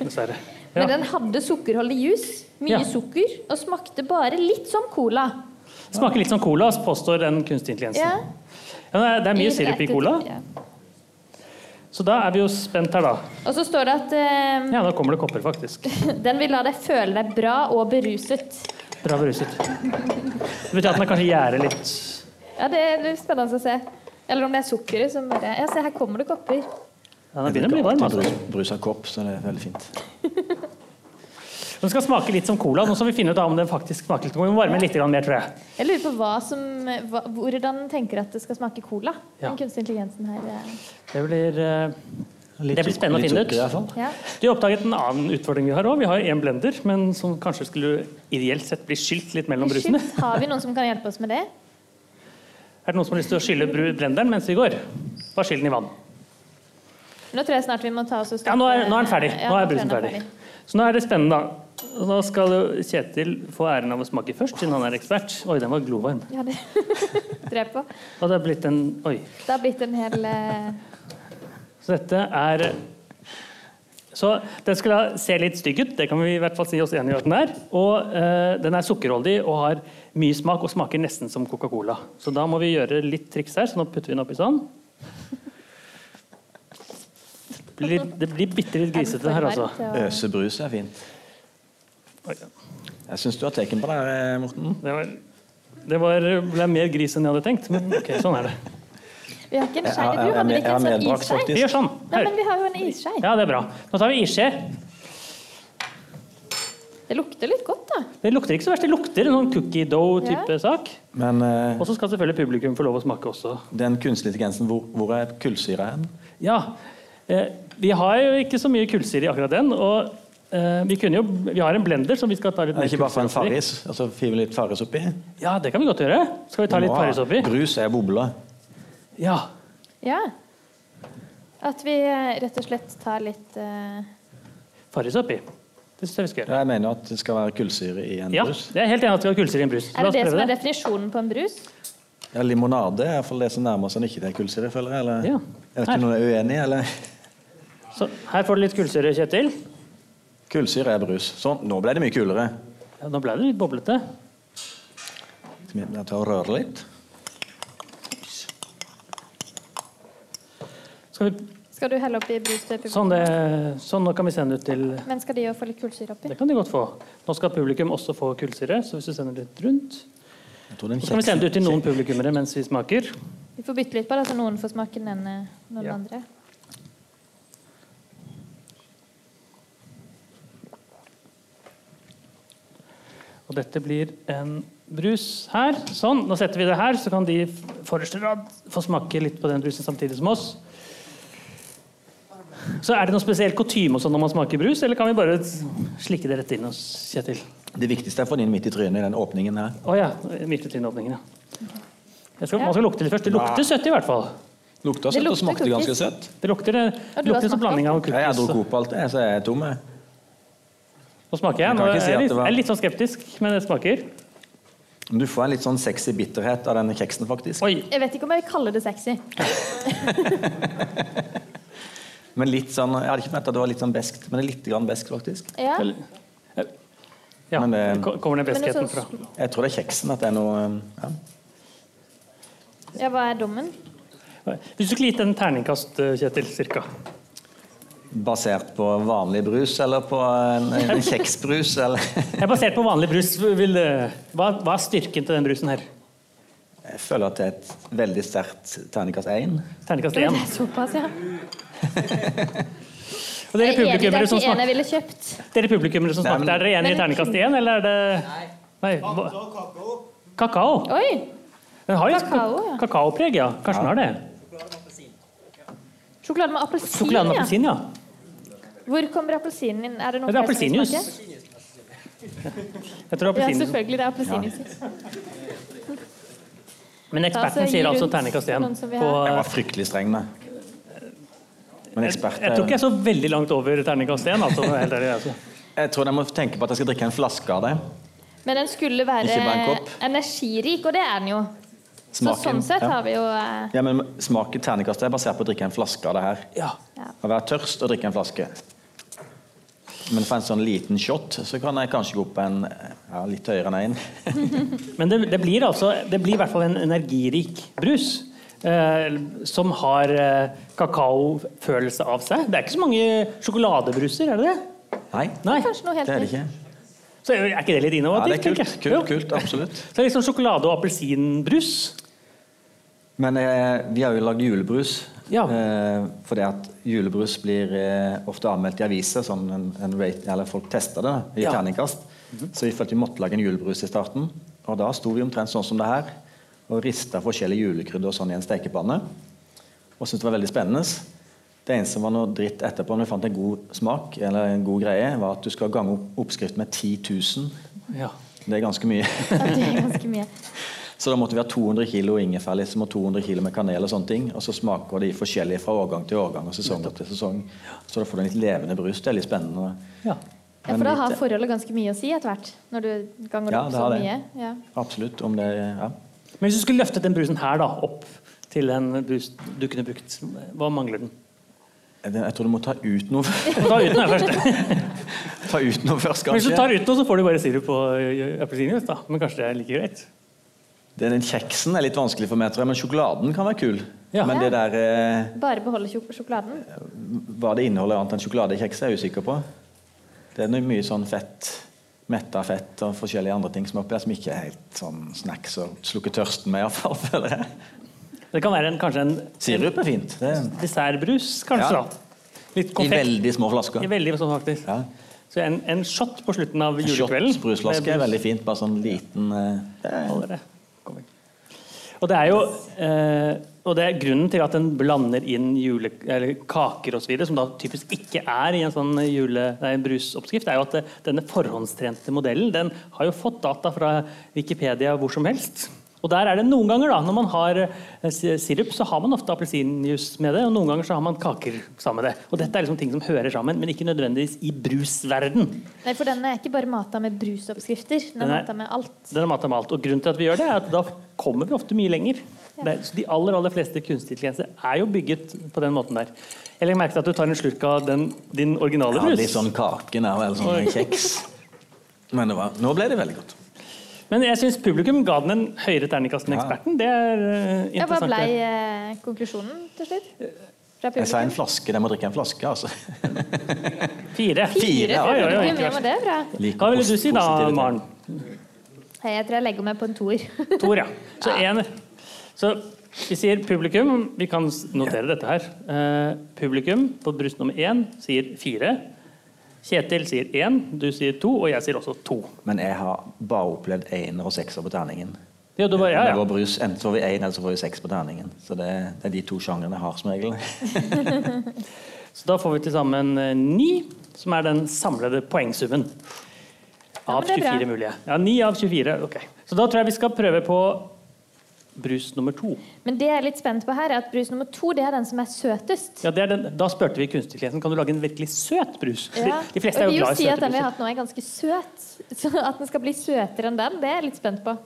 Speaker 3: Dessverre.
Speaker 5: Men
Speaker 3: Ja.
Speaker 5: den hadde sukkerholdig juice. Mye
Speaker 3: Ja.
Speaker 5: sukker. Og smakte bare litt som cola.
Speaker 3: Smaker litt som cola, påstår den kunstige
Speaker 5: Ja.
Speaker 3: intelligensen. Ja, det er- det er mye sirup i cola,
Speaker 5: Ja.
Speaker 3: så da er vi jo spent her, da.
Speaker 5: Og så står det at eh,
Speaker 3: Ja, da kommer det kopper, faktisk.
Speaker 5: den vil la deg føle deg bra og beruset.
Speaker 3: Dra beruset. Det betyr at den er kanskje gjærer litt.
Speaker 5: Ja, Det er litt spennende å se. Eller om det er sukkeret som bare Ja, se, her kommer det kopper.
Speaker 3: Ja, den begynner å bli varm.
Speaker 6: alltid
Speaker 3: Altså.
Speaker 6: brus, brus av kopp, så det er veldig fint.
Speaker 3: Den skal smake litt som cola. Nå skal vi finne ut da om den faktisk smaker litt. Vi må varme den litt grann mer, tror jeg.
Speaker 5: Jeg lurer på hva som, hva, hvordan den tenker at det skal smake cola.
Speaker 3: Ja.
Speaker 5: Den kunstige intelligensen her. eh.
Speaker 3: Det blir, eh,
Speaker 6: Litt
Speaker 3: det blir
Speaker 6: suk-
Speaker 3: spennende å
Speaker 6: litt
Speaker 3: finne ut.
Speaker 6: sukker i hvert fall.
Speaker 5: Ja.
Speaker 3: Du har oppdaget en annen utfordring vi har òg. Vi har jo en blender, men som kanskje skulle ideelt sett bli skylt litt mellom brusene.
Speaker 5: Shit, har vi noen som kan hjelpe oss med det?
Speaker 3: Er det noen som har lyst til å skylle bru- blenderen mens vi går? Bare skyll den i vann.
Speaker 5: Nå tror jeg snart vi må ta oss og
Speaker 3: Ja, nå er, nå er den ferdig.
Speaker 5: Ja,
Speaker 3: Nå er
Speaker 5: tror jeg
Speaker 3: brusen
Speaker 5: den
Speaker 3: ferdig. Så nå er det spennende, da. Og Nå skal jo Kjetil få æren av å smake først, siden han er ekspert. Oi, den var glovarm.
Speaker 5: Ja, det tror jeg på.
Speaker 3: Og det er blitt en Oi.
Speaker 5: Det har blitt en hel eh,
Speaker 3: Så dette er Så den skal da se litt stygg ut, det kan vi i hvert fall si oss enige i at den er. Og eh, den er sukkerholdig og har mye smak og smaker nesten som Coca-Cola. Så da må vi gjøre litt triks her, så nå putter vi den oppi sånn. Det blir, det blir bitte litt grisete her, altså.
Speaker 5: varmt, og-
Speaker 6: Øsebrus er fint.
Speaker 3: Oi, ja.
Speaker 6: Jeg syns du har teken på det, her, eh, Morten.
Speaker 3: Det, var, det var, ble mer gris enn jeg hadde tenkt, men ok, sånn er det.
Speaker 5: Vi har ikke en
Speaker 6: Jeg,
Speaker 5: skei.
Speaker 6: har-
Speaker 5: Du
Speaker 6: jeg,
Speaker 5: hadde
Speaker 6: jeg,
Speaker 5: ikke
Speaker 6: jeg
Speaker 5: en
Speaker 6: har
Speaker 5: sånn
Speaker 6: medbrakt,
Speaker 5: isskei?
Speaker 3: Vi
Speaker 6: faktisk.
Speaker 3: gjør sånn.
Speaker 5: Nei,
Speaker 3: Her.
Speaker 5: men vi har jo en isskei.
Speaker 3: Ja, det er bra. Nå tar vi isskje.
Speaker 5: Det lukter litt godt, da.
Speaker 3: Det lukter ikke så verst. Det lukter noen cookie dough-type
Speaker 5: Ja.
Speaker 3: sak.
Speaker 6: Men eh,
Speaker 3: Og så skal selvfølgelig publikum få lov å smake også.
Speaker 6: den kunstige intelligensen, hvor, hvor er kullsyra hen?
Speaker 3: Ja, eh, vi har jo ikke så mye kullsyre i akkurat den, og eh, vi, kunne jo, vi har en blender som vi skal ta litt
Speaker 6: Er det ikke bare for en
Speaker 3: kullsyre oppi.
Speaker 6: farris? Altså five litt farris oppi?
Speaker 3: Ja, det kan vi godt gjøre. Skal vi ta litt
Speaker 6: Bra.
Speaker 3: farris oppi?
Speaker 6: Brus er bobler.
Speaker 3: Ja.
Speaker 5: Ja. At vi eh, rett og slett tar litt eh,
Speaker 3: Farris oppi. Det syns jeg vi skal gjøre.
Speaker 6: Jeg mener at det skal være kullsyre i en
Speaker 3: Ja,
Speaker 6: brus.
Speaker 3: jeg er helt enig i at vi har kullsyre i en brus.
Speaker 5: Er
Speaker 3: La
Speaker 5: det
Speaker 3: oss
Speaker 5: det som
Speaker 3: prøve
Speaker 5: er definisjonen på en brus?
Speaker 6: Ja, limonade er iallfall det som nærmer seg ikke til kullsyre, føler jeg. Eller?
Speaker 3: Ja.
Speaker 6: Er det ikke noen er uenig i, eller?
Speaker 3: Så, her får du litt kullsyre, Kjetil.
Speaker 6: Kullsyre er brus. Sånn, nå ble det mye kulere.
Speaker 3: Ja, nå ble det litt boblete.
Speaker 6: Skal vi ta og røre litt?
Speaker 3: Skal vi
Speaker 5: Skal du helle oppi brus til publikum?
Speaker 3: Sånn, det, sånn, nå kan vi sende ut til
Speaker 5: Men skal de jo få litt kullsyre oppi?
Speaker 3: Det kan de godt få. Nå skal publikum også få kullsyre, så hvis du sender litt rundt
Speaker 6: Jeg tror det er en
Speaker 3: Så kan vi
Speaker 6: kjeks-
Speaker 3: sende det ut til noen publikummere mens vi smaker.
Speaker 5: Vi får bytte litt på det, så noen får smake den ene noen
Speaker 3: Ja.
Speaker 5: andre.
Speaker 3: Og dette blir en brus her. Sånn. Nå setter vi det her, så kan de i forreste rad få smake litt på den brusen samtidig som oss. Så er det noe spesiell kutyme og sånn når man smaker brus, eller kan vi bare slikke det rett inn hos Kjetil?
Speaker 6: Det viktigste er å få den inn midt i trynet i den åpningen her.
Speaker 3: Å ja. Midt i tryneåpningen, ja. Jeg skal, man skal lukte det først. Det lukter søtt i hvert fall.
Speaker 6: Lukta
Speaker 5: Det
Speaker 6: søtt og
Speaker 5: lukter
Speaker 6: smakte
Speaker 5: cookies.
Speaker 6: ganske søtt.
Speaker 3: Det lukter, det
Speaker 5: har
Speaker 3: lukter
Speaker 5: smakt
Speaker 3: som blanding av
Speaker 6: Jeg har
Speaker 3: cookies.
Speaker 6: drukket opp alt, jeg, så jeg er tom. jeg.
Speaker 3: Nå smaker jeg.
Speaker 6: Man
Speaker 3: Nå
Speaker 6: kan
Speaker 3: er
Speaker 6: ikke si at
Speaker 3: jeg, litt,
Speaker 6: det var-
Speaker 3: jeg er litt sånn skeptisk, men det smaker.
Speaker 6: Men Du får en litt sånn sexy bitterhet av denne kjeksen, faktisk.
Speaker 3: Oi,
Speaker 5: Jeg vet ikke om jeg vil kalle det sexy.
Speaker 6: Men litt sånn, jeg hadde ikke forventet at det var litt sånn beskt, men det er litt grann beskt, faktisk.
Speaker 5: Ja.
Speaker 3: Eller- Ja,
Speaker 6: Men eh, det-
Speaker 3: ko- kommer den
Speaker 5: Men sånn det er
Speaker 3: beskheten fra?
Speaker 5: så-
Speaker 6: Jeg tror det er kjeksen at det er noe eh, ja.
Speaker 5: ja, hva er dommen?
Speaker 3: Hvis du skulle gitt den terningkast, eh, Kjetil, cirka.
Speaker 6: basert på vanlig brus, eller på en, en kjeksbrus, eller
Speaker 3: Jeg er basert på vanlig brus. Vil, eh, hva, hva er styrken til den brusen her?
Speaker 6: Jeg føler at det er et veldig sterkt terningkast 1.
Speaker 3: Terningkast
Speaker 5: Det
Speaker 3: én.
Speaker 5: er Såpass, ja.
Speaker 3: Og dere
Speaker 5: Jeg er enig, det
Speaker 3: publikummere
Speaker 5: er
Speaker 3: som
Speaker 5: ikke en jeg
Speaker 3: smakte,
Speaker 5: ville kjøpt.
Speaker 3: dere publikummere som
Speaker 6: Nei, men-
Speaker 3: smakte, er dere enig i terningkast én, eller er det Nei. hva- Kakao?
Speaker 5: Oi!
Speaker 3: Den har jo
Speaker 5: Kakao, ja.
Speaker 3: kakaopreg, ja. Kanskje den har det.
Speaker 5: Sjokolade med appelsin,
Speaker 3: Sjokolade med
Speaker 5: ja.
Speaker 3: appelsin, ja.
Speaker 5: Hvor kommer appelsinen inn? Er det noe
Speaker 3: Er det
Speaker 5: flere som vil
Speaker 3: appelsinjuice?
Speaker 5: smake?
Speaker 3: Jeg tror
Speaker 5: Ja,
Speaker 3: appelsin.
Speaker 5: selvfølgelig. Det er appelsinjuice.
Speaker 3: Men
Speaker 5: Altså,
Speaker 3: eksperten
Speaker 5: gi
Speaker 3: sier altså
Speaker 5: rundt
Speaker 3: terningkast én.
Speaker 5: noen som vil
Speaker 3: på-
Speaker 6: Jeg var fryktelig streng med. Men ekspert eh.
Speaker 3: Jeg tror ikke jeg så veldig langt over terningkast én. Altså, helt ærlig, altså.
Speaker 6: Jeg tror jeg må tenke på at jeg skal drikke en flaske av det.
Speaker 5: Men den skulle være
Speaker 6: Ikke bare en kopp.
Speaker 5: energirik, og det er den jo. Så
Speaker 6: Smaken,
Speaker 5: sånn sett
Speaker 6: ja.
Speaker 5: har vi jo eh,
Speaker 6: Ja, men Smaken terningkast er basert på å drikke en flaske av det her.
Speaker 3: Ja.
Speaker 6: Å være tørst og drikke en flaske. Men for en sånn liten shot så kan jeg kanskje gå opp en ja, litt høyere enn én.
Speaker 3: Men det, det blir altså Det blir i hvert fall en energirik brus. Eh, som har eh, kakaofølelse av seg. Det er ikke så mange sjokoladebruser, er det det?
Speaker 6: Nei,
Speaker 3: Nei.
Speaker 5: kanskje noe
Speaker 6: det
Speaker 5: helt
Speaker 6: er det
Speaker 5: nytt.
Speaker 6: ikke.
Speaker 3: Så er er ikke det litt
Speaker 6: Ja, det
Speaker 3: innovativt?
Speaker 6: er kult,
Speaker 3: tenker jeg?
Speaker 6: kult,
Speaker 3: Jo.
Speaker 6: kult, absolutt.
Speaker 3: Så det er liksom sjokolade- og appelsinbrus.
Speaker 6: Men eh, vi har jo lagd julebrus.
Speaker 3: Ja.
Speaker 6: Eh, fordi at julebrus blir eh, ofte anmeldt i aviser, som en, en rate, eller folk tester det i
Speaker 3: Ja. Mhm.
Speaker 6: terningkast. Så vi følte vi måtte lage en julebrus i starten. Og da sto vi omtrent sånn som det her og rista forskjellige julekrydder og sånn i en stekepanne. Og syntes det var veldig spennende. Det eneste som var noe dritt etterpå, når vi fant en god smak, eller en god greie, var at du skal gange opp oppskrift med 10 000.
Speaker 3: Ja.
Speaker 6: Det er ganske mye.
Speaker 5: Ja, det er ganske mye.
Speaker 6: Så da måtte vi ha 200 kilo ingefærlism og 200 kilo med kanel. Og sånne ting, og så smaker de forskjellige fra årgang til årgang og sesong til sesong. Så da får du en litt levende brus. Det er litt spennende.
Speaker 3: ja.
Speaker 5: Ja,
Speaker 6: Men
Speaker 5: for da har
Speaker 6: litt- eh,
Speaker 5: forholdet ganske mye å si etter hvert. Når du ganger
Speaker 6: Ja,
Speaker 5: opp
Speaker 6: det
Speaker 5: så
Speaker 6: har det.
Speaker 5: mye. Ja.
Speaker 6: Absolutt. Om det, ja.
Speaker 3: Men hvis du skulle løftet den brusen her da, opp til en brus du kunne brukt, hva mangler den?
Speaker 6: Jeg tror du må ta ut noe,
Speaker 3: Du må Ta ut den her først.
Speaker 6: ta ut noe først,
Speaker 3: Men hvis du tar
Speaker 6: kanskje.
Speaker 3: ut noe, så får du bare sirup og eh, ø, ø, appelsinjuice. da. Men kanskje det er like greit.
Speaker 6: Den kjeksen er litt vanskelig for meg, tror jeg, men sjokoladen kan være kul.
Speaker 3: Ja.
Speaker 6: Men det der, eh,
Speaker 5: Bare beholde sjok sjokoladen.
Speaker 6: hva det inneholder annet enn sjokoladekjeks, er jeg usikker på. Det er noe mye sånn fett, metta fett og forskjellige andre ting som er oppi her, som ikke er helt sånn snacks og slukker tørsten med, iallfall, føler jeg.
Speaker 3: Det kan være en, kanskje en
Speaker 6: Sirup er fint. Det er
Speaker 3: dessertbrus, kanskje.
Speaker 6: Ja.
Speaker 3: da. Litt
Speaker 6: I
Speaker 3: konfekt.
Speaker 6: veldig små flasker.
Speaker 3: I veldig sånn, faktisk.
Speaker 6: Ja.
Speaker 3: Så en, en shot på slutten av
Speaker 6: En shot
Speaker 3: julekvelden.
Speaker 6: Brusflaske
Speaker 3: med
Speaker 6: er
Speaker 3: brus.
Speaker 6: veldig fint. Bare sånn liten eh,
Speaker 3: Allerede. Kom igjen. Og det er jo eh, og det er grunnen til at en blander inn jule, eller kaker osv., som da typisk ikke er i en sånn jule, nei, brusoppskrift, er jo at eh, denne forhåndstrente modellen den har jo fått data fra Wikipedia hvor som helst. Og der er det noen ganger da, Når man har eh, si- sirup, så har man ofte appelsinjuice med det. Og noen ganger så har man kaker sammen med det. Og dette er liksom ting som hører sammen, men ikke nødvendigvis i brusverden.
Speaker 5: Nei, for den er ikke bare mata med brusoppskrifter. Den er
Speaker 3: Nei.
Speaker 5: mata med alt.
Speaker 3: Det er mat av malt. Og grunnen til at vi gjør det, er at da kommer vi ofte mye lenger. Det er- så de aller aller fleste kunstig intelligenser er jo bygget på den måten der. Jeg legger merke til at du tar en slurk av den, din originale
Speaker 6: ja,
Speaker 3: brus.
Speaker 6: Litt sånn kake nær, eller sånn en kjeks. Men det var, nå ble det veldig godt.
Speaker 3: Men jeg syns publikum ga den en høyere terningkast enn
Speaker 6: Ja.
Speaker 3: eksperten. Det er eh,
Speaker 5: Ja, hva
Speaker 3: interessant.
Speaker 5: ble
Speaker 3: det.
Speaker 5: eh, konklusjonen til slutt? Fra
Speaker 6: Jeg sa en
Speaker 5: publikum?
Speaker 6: flaske. De må drikke en flaske, altså.
Speaker 3: Fire.
Speaker 6: Fire, ja,
Speaker 3: Oi, oi, oi,
Speaker 5: Ja,
Speaker 3: ikke
Speaker 5: publikum, ja,
Speaker 3: verst.
Speaker 5: men det er bra.
Speaker 6: Liker
Speaker 3: Hva ville
Speaker 6: pos-
Speaker 3: du si da,
Speaker 6: positivitet.
Speaker 3: Maren?
Speaker 5: Hei, jeg tror jeg legger meg på en toer.
Speaker 3: Tor, ja. Så en Så vi sier publikum. Vi kan s- notere dette her. Eh, publikum på brus nummer én sier fire. Kjetil sier én, du sier to, og jeg sier også to.
Speaker 6: Men jeg har bare opplevd ener og sekser på terningen.
Speaker 3: Ja, du bare, ja,
Speaker 6: Det
Speaker 3: ja.
Speaker 6: var brus. Enten så får vi én, eller så får vi seks på terningen. Så det, det er de to sjangrene jeg har som regel.
Speaker 3: Så da får vi til sammen eh, ni, som er den samlede poengsummen.
Speaker 5: Ja,
Speaker 3: Av
Speaker 5: men det er bra.
Speaker 3: 24 mulige. Ja, ni av 24. Ok. Så da tror jeg vi skal prøve på brus nummer to.
Speaker 5: Men det jeg er litt spent på her, er at brus nummer to det er den som er søtest.
Speaker 3: Ja, det er den, da spurte vi kunstintelligensen kan du lage en virkelig søt brus. Fordi
Speaker 5: Ja.
Speaker 3: De fleste er
Speaker 5: Og
Speaker 3: jo
Speaker 5: vil
Speaker 3: glad i
Speaker 5: si at
Speaker 3: søte
Speaker 5: den vi
Speaker 3: bruser.
Speaker 5: har hatt nå, er ganske søt. Så at den skal bli søtere enn den, det er jeg litt spent på.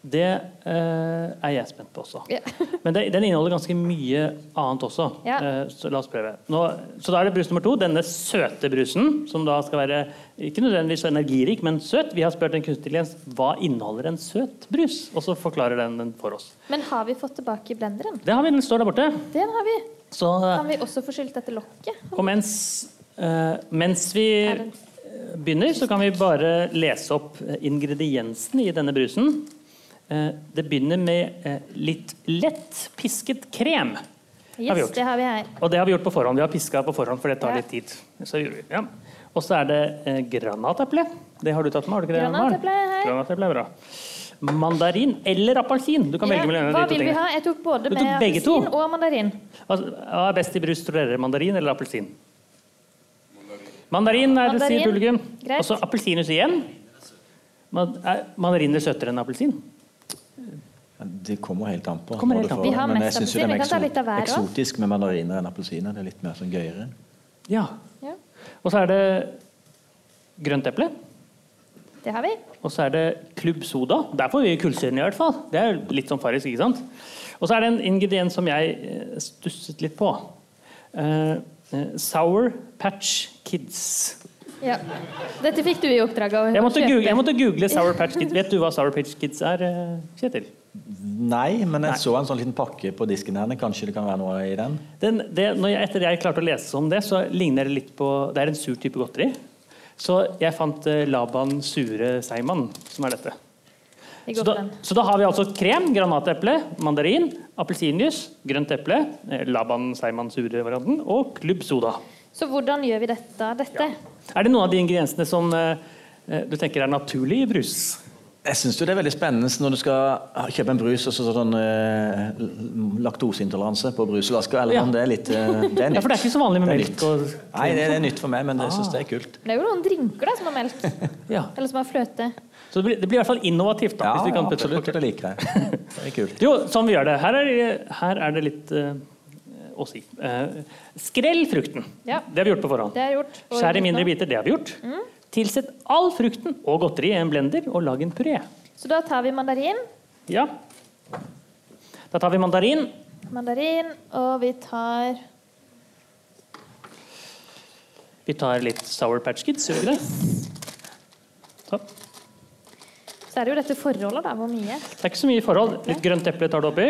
Speaker 3: Det eh, er jeg spent på også.
Speaker 5: Ja.
Speaker 3: Men det, den inneholder ganske mye annet også.
Speaker 5: Ja.
Speaker 3: Eh, så la oss prøve. Nå, så da er det brus nummer to. Denne søte brusen, som da skal være ikke nødvendigvis så energirik, men søt. Vi har spurt en kunstig intelligens hva inneholder en søt brus, og så forklarer den den for oss.
Speaker 5: Men har vi fått tilbake blenderen?
Speaker 3: Det har vi, den står der borte.
Speaker 5: Den har vi.
Speaker 3: Så eh,
Speaker 5: Kan vi også få skylt dette lokket?
Speaker 3: og mens, eh, mens vi
Speaker 5: Er den-
Speaker 3: eh, begynner, så kan vi bare lese opp eh, ingrediensene i denne brusen. Eh, det begynner med eh, litt lett pisket krem. Har vi
Speaker 5: Yes,
Speaker 3: gjort.
Speaker 5: det har vi her.
Speaker 3: Og det har vi gjort på forhånd. Vi har piska på forhånd, for det tar
Speaker 5: Ja.
Speaker 3: litt tid. Så gjorde vi, ja. Og så er det eh, granateple. Det har du tatt med, har du ikke det? Maren?
Speaker 5: Granateple er her.
Speaker 3: Granateple er bra. Mandarin eller appelsin. Du kan
Speaker 5: Ja,
Speaker 3: velge mellom
Speaker 5: hva
Speaker 3: de to
Speaker 5: vil vi ha?
Speaker 3: tingene.
Speaker 5: Jeg tok både
Speaker 3: Du tok
Speaker 5: med
Speaker 3: begge to?
Speaker 5: appelsin og mandarin.
Speaker 3: Altså, hva er best i brus, tror dere? Mandarin eller appelsin? Mandarin, er det, sier
Speaker 5: Mandarin.
Speaker 3: Tullegum.
Speaker 5: Greit.
Speaker 3: Og så appelsinus igjen. Man, er mandariner søtere enn appelsin?
Speaker 6: Det kommer helt an på.
Speaker 3: Kommer
Speaker 6: hva
Speaker 3: helt
Speaker 6: du
Speaker 3: an
Speaker 6: får,
Speaker 3: på.
Speaker 5: Vi har
Speaker 6: men jeg
Speaker 5: mest
Speaker 6: synes jo den
Speaker 5: appelsin, vi
Speaker 6: er
Speaker 5: kan ta litt av hver også.
Speaker 6: eksotisk med mandariner enn appelsiner. Det er litt mer sånn gøyere.
Speaker 3: Ja.
Speaker 5: Ja,
Speaker 3: Og så er det grønt eple.
Speaker 5: det har vi.
Speaker 3: Og så er det Klubb Soda. Der får vi kullsyren i hvert fall. Det er jo litt sånn farisk, ikke sant? Og så er det en ingrediens som jeg eh, stusset litt på. Eh, eh, sour Patch Kids.
Speaker 5: Ja. Dette fikk du i oppdrag av
Speaker 3: Jeg måtte, google, jeg måtte google Sour Patch Kids. Vet du hva Sour Patch Kids er, eh, Kjetil?
Speaker 6: Nei, men jeg
Speaker 3: Nei.
Speaker 6: så en sånn liten pakke på disken her. Kanskje det kan være noe i den?
Speaker 3: Den, det, når jeg, etter jeg klarte å lese om det, så ligner det litt på Det er en sur type godteri. Så jeg fant eh, Laban sure seigmann, som er dette.
Speaker 5: Vi
Speaker 3: Så
Speaker 5: går
Speaker 3: da,
Speaker 5: for den.
Speaker 3: så da har vi altså krem, granateple, mandarin, appelsinjuice, grønt eple, eh, Laban seigmann sure-varianten og Klubb Soda.
Speaker 5: Så hvordan gjør vi dette? dette?
Speaker 3: Er det noen av de ingrediensene som eh, eh, du tenker er naturlig i brus?
Speaker 6: Jeg syns det er veldig spennende når du skal kjøpe en brus og så sånn eh, l- laktoseintoleranse på brusflaska. Eller
Speaker 3: Ja.
Speaker 6: om det er litt eh, Det er nytt.
Speaker 3: Ja, for det er ikke så vanlig med
Speaker 6: Det er
Speaker 3: melk
Speaker 6: nytt.
Speaker 3: og
Speaker 6: Nei, det er nytt for meg, men jeg syns det er kult.
Speaker 5: Men Det er jo noen drinker da som har melk.
Speaker 3: ja.
Speaker 5: Eller som har fløte.
Speaker 3: Så det blir, det blir i hvert fall innovativt. da,
Speaker 6: Ja,
Speaker 3: hvis vi kan putte det på
Speaker 6: absolutt. Det liker jeg. Det er kult.
Speaker 3: Jo, sånn vi gjør det. Her er, her er det litt eh, å si. Eh, skrell frukten.
Speaker 5: Ja.
Speaker 3: Det har vi gjort på forhånd.
Speaker 5: Det er gjort. Og
Speaker 3: Skjær i mindre
Speaker 5: nå-
Speaker 3: biter. Det har vi gjort.
Speaker 5: Mm.
Speaker 3: Tilsett all frukten og godteri i en blender og lag en puré.
Speaker 5: Så da tar vi mandarin.
Speaker 3: Ja. Da tar vi mandarin.
Speaker 5: Mandarin, og vi tar
Speaker 3: Vi tar litt Sour Patch Kids, gjør vi ikke det? Sånn. Så.
Speaker 5: Så er det jo dette forholdet, da. Hvor mye?
Speaker 3: Det er ikke så mye forhold. Litt grønt eple tar du oppi.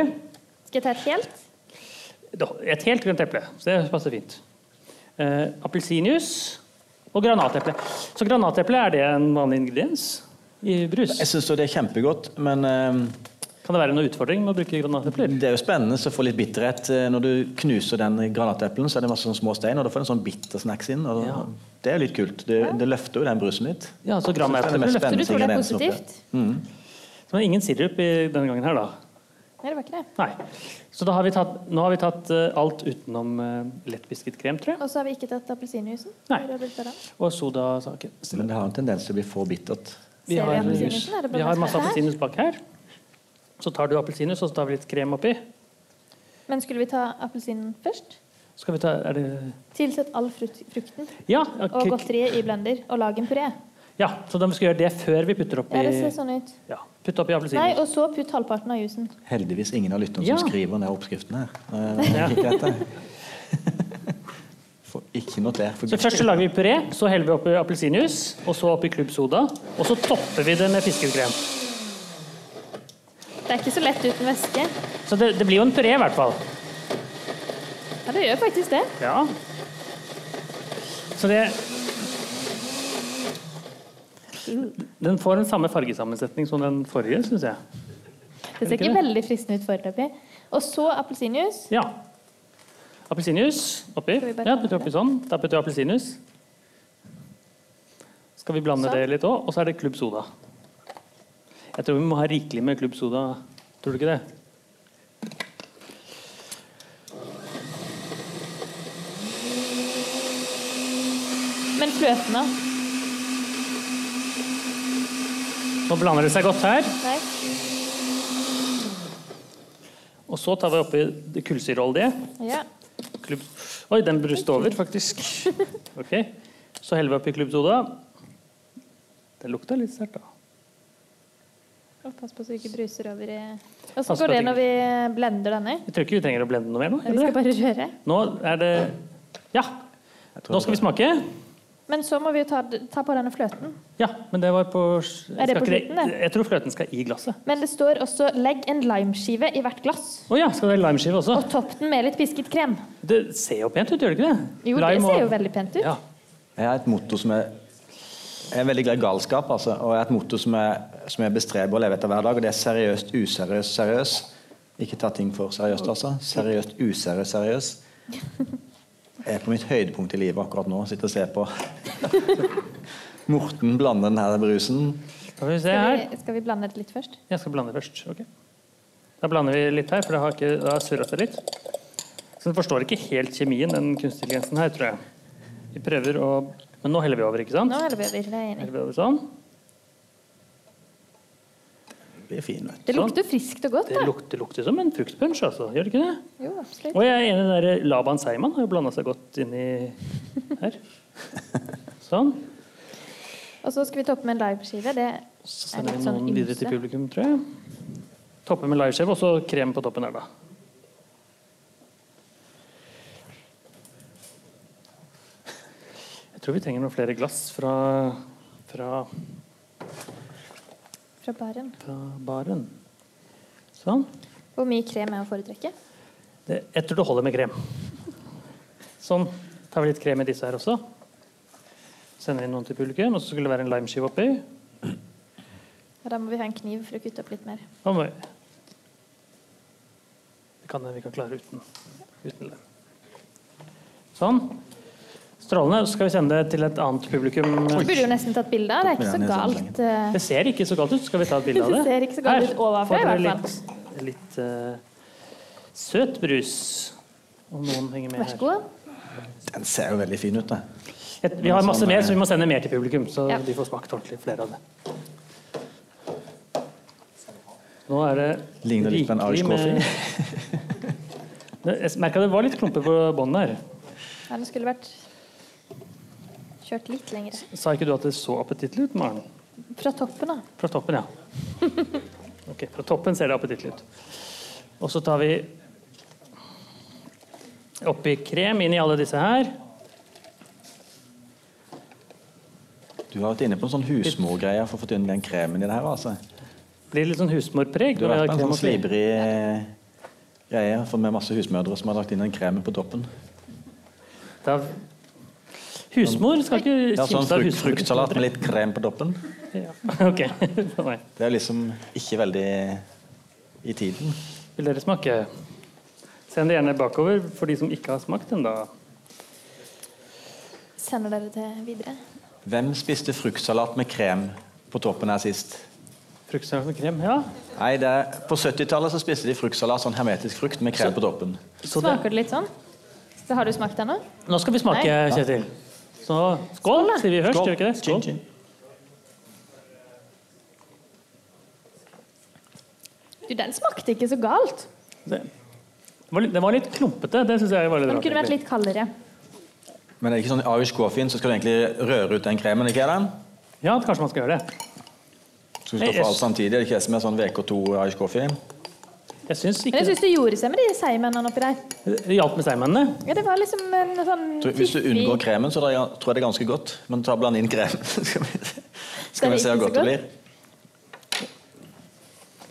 Speaker 5: Skal jeg ta et helt?
Speaker 3: Da- Et helt grønt eple. Så det passer fint. Eh, Appelsinjuice og granateple. Så granateple, er det en vanlig ingrediens i brus?
Speaker 6: Jeg syns det er kjempegodt, men eh,
Speaker 3: Kan det være noen utfordring med å bruke granatepler?
Speaker 6: Det er jo spennende å få litt bitterhet. eh, Når du knuser den granateplen, så er det masse sånne små stein, og da får du en sånn bitter snacks inn. Og
Speaker 3: Ja.
Speaker 6: Det er jo litt kult. Det, det løfter jo den brusen litt.
Speaker 3: Ja, så
Speaker 6: Det er det
Speaker 3: granatepler
Speaker 6: mest
Speaker 3: løfter.
Speaker 5: Så du
Speaker 6: spennende
Speaker 5: tror det er
Speaker 6: ingrediensen oppi.
Speaker 5: positivt?
Speaker 3: Så det er ingen sirup i denne gangen her, da.
Speaker 5: Nei, det var ikke det.
Speaker 3: Nei. Så da har vi tatt, nå har vi tatt eh, alt utenom eh, lettbisket krem, tror jeg.
Speaker 5: Og så har vi ikke tatt appelsinjuicen?
Speaker 3: Nei.
Speaker 5: Hvor har det blitt av den?
Speaker 3: Og sodasaken.
Speaker 6: Men det har en tendens til å bli for bittert.
Speaker 3: Vi
Speaker 5: Ser vi
Speaker 3: har,
Speaker 5: appelsinjuicen? Er det
Speaker 3: vi
Speaker 5: blandet
Speaker 3: har masse
Speaker 5: med dette her?
Speaker 3: appelsinjuice bak her. Så tar du appelsinjuice, og så tar vi litt krem oppi.
Speaker 5: Men skulle vi ta appelsinen først?
Speaker 3: Så skal vi ta Er det
Speaker 5: Tilsett all frukt, frukten
Speaker 3: Ja.
Speaker 5: og
Speaker 3: ok.
Speaker 5: godteriet i blender, og lag en puré.
Speaker 3: ja så da skal vi gjøre det før vi putter oppi
Speaker 5: Ja, det ser sånn ut.
Speaker 3: ja, putte oppi
Speaker 5: Nei,
Speaker 3: appelsinjuice.
Speaker 5: og så putt halvparten av juicen.
Speaker 6: Heldigvis ingen av lytterne
Speaker 3: Ja.
Speaker 6: som skriver ned oppskriften her. Eh, jeg kikker etter. Får ikke notert. For
Speaker 3: Så
Speaker 6: Gud.
Speaker 3: først så lager vi puré, så heller vi oppi appelsinjuice, og så oppi Club Soda. Og så topper vi det med pisket krem.
Speaker 5: Det er ikke så lett uten væske.
Speaker 3: Så det, det blir jo en puré, i hvert fall.
Speaker 5: Ja, det gjør faktisk det.
Speaker 3: Ja. Så det Den får den samme fargesammensetning som den forrige, syns jeg.
Speaker 5: Det ser
Speaker 3: ikke
Speaker 5: ikke
Speaker 3: det?
Speaker 5: veldig fristende ut foreløpig. Og så appelsinjuice.
Speaker 3: Ja. Appelsinjuice oppi.
Speaker 5: Skal vi bare
Speaker 3: Ja,
Speaker 5: ta
Speaker 3: putter oppi sånn. Da putter vi appelsinjuice. Skal vi blande
Speaker 5: Sånn.
Speaker 3: det litt òg? Og så er det Club Soda. Jeg tror vi må ha rikelig med Club Soda. Tror du ikke det?
Speaker 5: Men fløten da?
Speaker 3: Nå blander det seg godt her.
Speaker 5: Nei.
Speaker 3: Og så tar vi oppi det kullsyreolje.
Speaker 5: Ja.
Speaker 3: Klubb... Oi, den bruste over, faktisk. Ok. Så heller vi oppi Klubb Soda. Det lukta litt sterkt, da.
Speaker 5: Og pass på så du ikke bruser over i Åssen
Speaker 3: Pass på
Speaker 5: går det
Speaker 3: at
Speaker 5: når vi blender denne?
Speaker 3: Jeg tror ikke vi trenger å blende noe mer nå. gjør
Speaker 5: Vi skal
Speaker 3: vi det?
Speaker 5: bare røre.
Speaker 3: Nå er det Ja.
Speaker 6: Jeg tror
Speaker 3: Nå skal vi smake.
Speaker 5: Men så må vi jo ta, ta på denne fløten.
Speaker 3: Ja, men det var på skal
Speaker 5: det på
Speaker 3: ikke
Speaker 5: slutten, det?
Speaker 3: Jeg tror fløten skal i glasset.
Speaker 5: Men det står også 'legg en limeskive i hvert glass'.
Speaker 3: Å ja, skal det være limeskive også?
Speaker 5: Og topp den med litt pisket krem.
Speaker 3: Det ser jo pent ut, gjør det ikke det?
Speaker 5: Jo, det
Speaker 3: Lime
Speaker 5: ser jo
Speaker 3: og-
Speaker 5: veldig pent ut.
Speaker 3: Ja.
Speaker 6: Jeg har et motto som er jeg er veldig glad i galskap, altså, og jeg har et motto som jeg, som jeg bestreber å leve etter hver dag. og Det er seriøst, useriøst, seriøs. Ikke ta ting for seriøst, altså. Seriøst, useriøst, seriøs. Jeg er på mitt høydepunkt i livet akkurat nå. Sitter og ser på Morten blande den her brusen.
Speaker 3: Da får vi se
Speaker 5: Skal
Speaker 3: her.
Speaker 5: vi, skal vi blande det litt først?
Speaker 3: Jeg skal blande først. ok. Da blander vi litt her, for det har ikke, det har surret seg litt. Så den forstår ikke helt kjemien, den kunstig intelligensen her, tror jeg. Vi prøver å Men nå heller vi over, ikke sant?
Speaker 5: Nå er det bedre. Det, er jeg enig.
Speaker 3: Heller vi over sånn.
Speaker 6: Det blir fin, vet du.
Speaker 5: i. det lukter friskt og godt,
Speaker 3: Sånn. Det
Speaker 5: da.
Speaker 3: lukter, lukter som en fruktpunch, altså. Gjør det ikke det?
Speaker 5: Jo, absolutt.
Speaker 3: Og jeg er enig i det der Laban Seiman har jo blanda seg godt inn i her. Sånn.
Speaker 5: Og så skal vi toppe med en limeskive. Det
Speaker 3: Så
Speaker 5: Er
Speaker 3: sender
Speaker 5: litt
Speaker 3: vi
Speaker 5: sånn
Speaker 3: noen videre til
Speaker 5: ymse.
Speaker 3: publikum, tror jeg. Toppe med liveskjev, og så krem på toppen her, da. Jeg tror vi trenger noen flere glass fra, fra,
Speaker 5: fra baren.
Speaker 3: fra baren. Sånn.
Speaker 5: Hvor mye krem er å foretrekke?
Speaker 3: Det, jeg tror det holder med krem. Sånn. Tar vi litt krem i disse her også. Sender inn noen til publikum, og så skulle det være en limeskive oppi.
Speaker 5: Ja, da må vi ha en kniv for å kutte opp litt mer.
Speaker 3: Hva må vi? Det kan jeg vi kan klare uten, uten det. Sånn. Strålende. Så skal vi sende det til et annet publikum.
Speaker 5: Vi burde jo nesten tatt bilde av det. Det er ikke så
Speaker 3: sånn
Speaker 6: Tok
Speaker 5: galt. eh,
Speaker 3: Det ser ikke så galt ut. Skal vi ta et bilde av det?
Speaker 5: Det ser ikke så galt ut ovenfra,
Speaker 3: får
Speaker 5: i
Speaker 3: dere
Speaker 5: hvert
Speaker 3: Litt, litt eh, søt brus. Om noen henger med
Speaker 5: Vær så god.
Speaker 6: Den ser jo veldig fin ut, da.
Speaker 3: her. Et- Vi har masse mer, så vi må sende mer til publikum. Så
Speaker 5: Ja.
Speaker 3: de får smakt ordentlig flere av det. Nå er det
Speaker 6: Ligner litt på en
Speaker 3: rikelig
Speaker 6: Irish
Speaker 3: med-
Speaker 6: coffee.
Speaker 3: Jeg merka det var litt klumper på båndet her.
Speaker 5: Ja, den skulle vært kjørt litt lenger.
Speaker 3: Sa ikke du at det så appetittlig ut, Maren?
Speaker 5: Fra toppen, da.
Speaker 3: Fra toppen, ja. Ok, Fra toppen ser det appetittlig ut. Og så tar vi oppi krem inn i alle disse her.
Speaker 6: Du har vært inne på en sånn husmorgreie for å få tynne den kremen i det her. altså.
Speaker 3: Blir litt sånn husmorpreg.
Speaker 6: Du har
Speaker 3: når vi
Speaker 6: vært på en
Speaker 3: krem
Speaker 6: sånn
Speaker 3: oppi.
Speaker 6: slibrig eh, greie for med masse husmødre som har lagt inn den kremen på toppen.
Speaker 3: Da... Husmor skal
Speaker 6: Ja,
Speaker 3: ikke
Speaker 6: sånn
Speaker 3: kimse av
Speaker 6: frukt,
Speaker 3: husmor.
Speaker 6: fruktsalat med litt krem på toppen.
Speaker 3: Ja. Ok. Nei.
Speaker 6: Det er liksom ikke veldig i tiden.
Speaker 3: Vil dere smake? Send det gjerne bakover for de som ikke har smakt ennå.
Speaker 5: Sender dere det videre?
Speaker 6: Hvem spiste fruktsalat med krem på toppen her sist?
Speaker 3: Fruktsalat med krem, ja.
Speaker 6: Nei, det er, På 70-tallet så spiste de fruktsalat, sånn hermetisk frukt med krem på toppen.
Speaker 3: Så det...
Speaker 5: Smaker det litt sånn? Så har du smakt den nå?
Speaker 3: Nå skal vi smake,
Speaker 5: Nei.
Speaker 3: Kjetil. Så skål, sier vi først. Gjør vi ikke det?
Speaker 6: Chin, chin.
Speaker 5: Du, den smakte ikke så galt.
Speaker 3: Det det var litt, det var litt klumpete. Det synes jeg var litt
Speaker 5: Den
Speaker 3: rart.
Speaker 5: kunne vært
Speaker 3: egentlig.
Speaker 5: litt kaldere.
Speaker 6: Men det er ikke sånn i Irish coffee, så skal du egentlig røre ut den kremen, ikke den?
Speaker 3: Ja, kanskje man skal gjøre det.
Speaker 6: Så du skal
Speaker 3: Nei,
Speaker 6: få alt samtidig, er det ikke det som er sånn VK2 Irish coffee?
Speaker 3: Jeg synes
Speaker 5: Men
Speaker 3: ikke
Speaker 5: jeg syns det gjorde seg med de seigmennene oppi der.
Speaker 3: Det hjalp med seigmennene.
Speaker 5: Ja, det var liksom en sånn
Speaker 6: Tror- Hvis du unngår kremen, så tror jeg tror jeg det er ganske godt. Men ta bland inn kremen. Skal vi se- skal vi se hvor godt det blir.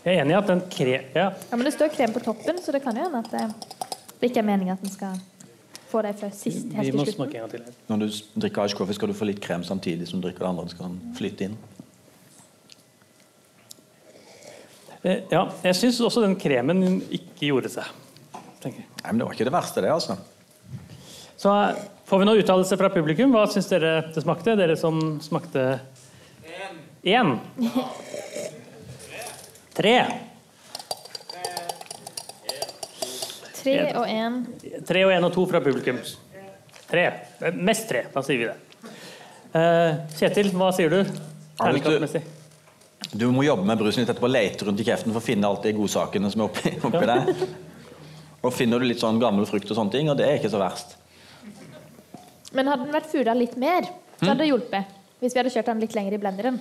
Speaker 3: Jeg er enig i at den kre... Ja.
Speaker 5: Ja, Men det står krem på toppen, så det kan jo hende at det, det ikke er meningen at den skal få deg før sist.
Speaker 3: Vi
Speaker 5: helt
Speaker 3: må
Speaker 5: til slutten.
Speaker 3: smake en gang til. her.
Speaker 6: Når du s- drikker Irish coffee, skal du få litt krem samtidig som du drikker det andre. Det skal den flyte inn.
Speaker 3: Eh, Ja, jeg syns også den kremen ikke gjorde seg. tenker jeg.
Speaker 6: Nei, men Det var ikke det verste, det. altså.
Speaker 3: Så eh, får vi noen uttalelse fra publikum. Hva syns dere det smakte? Dere som smakte Én. Tre.
Speaker 5: Tre og én.
Speaker 3: Tre og én og to fra publikum. Tre. Eh, Mest tre, da sier vi det. Eh, Kjetil, hva sier du?
Speaker 6: Ja, hvis du-
Speaker 3: Terningkastmessig.
Speaker 6: Du må jobbe med brusen litt etterpå, lete rundt i kjeften for å finne alt de godsakene som er oppi, oppi der. Og finner du litt sånn gammel frukt og sånne ting, og det er ikke så verst.
Speaker 5: Men hadde den vært fula litt mer, så hadde det hjulpet. Hvis vi hadde kjørt den litt lenger i blenderen.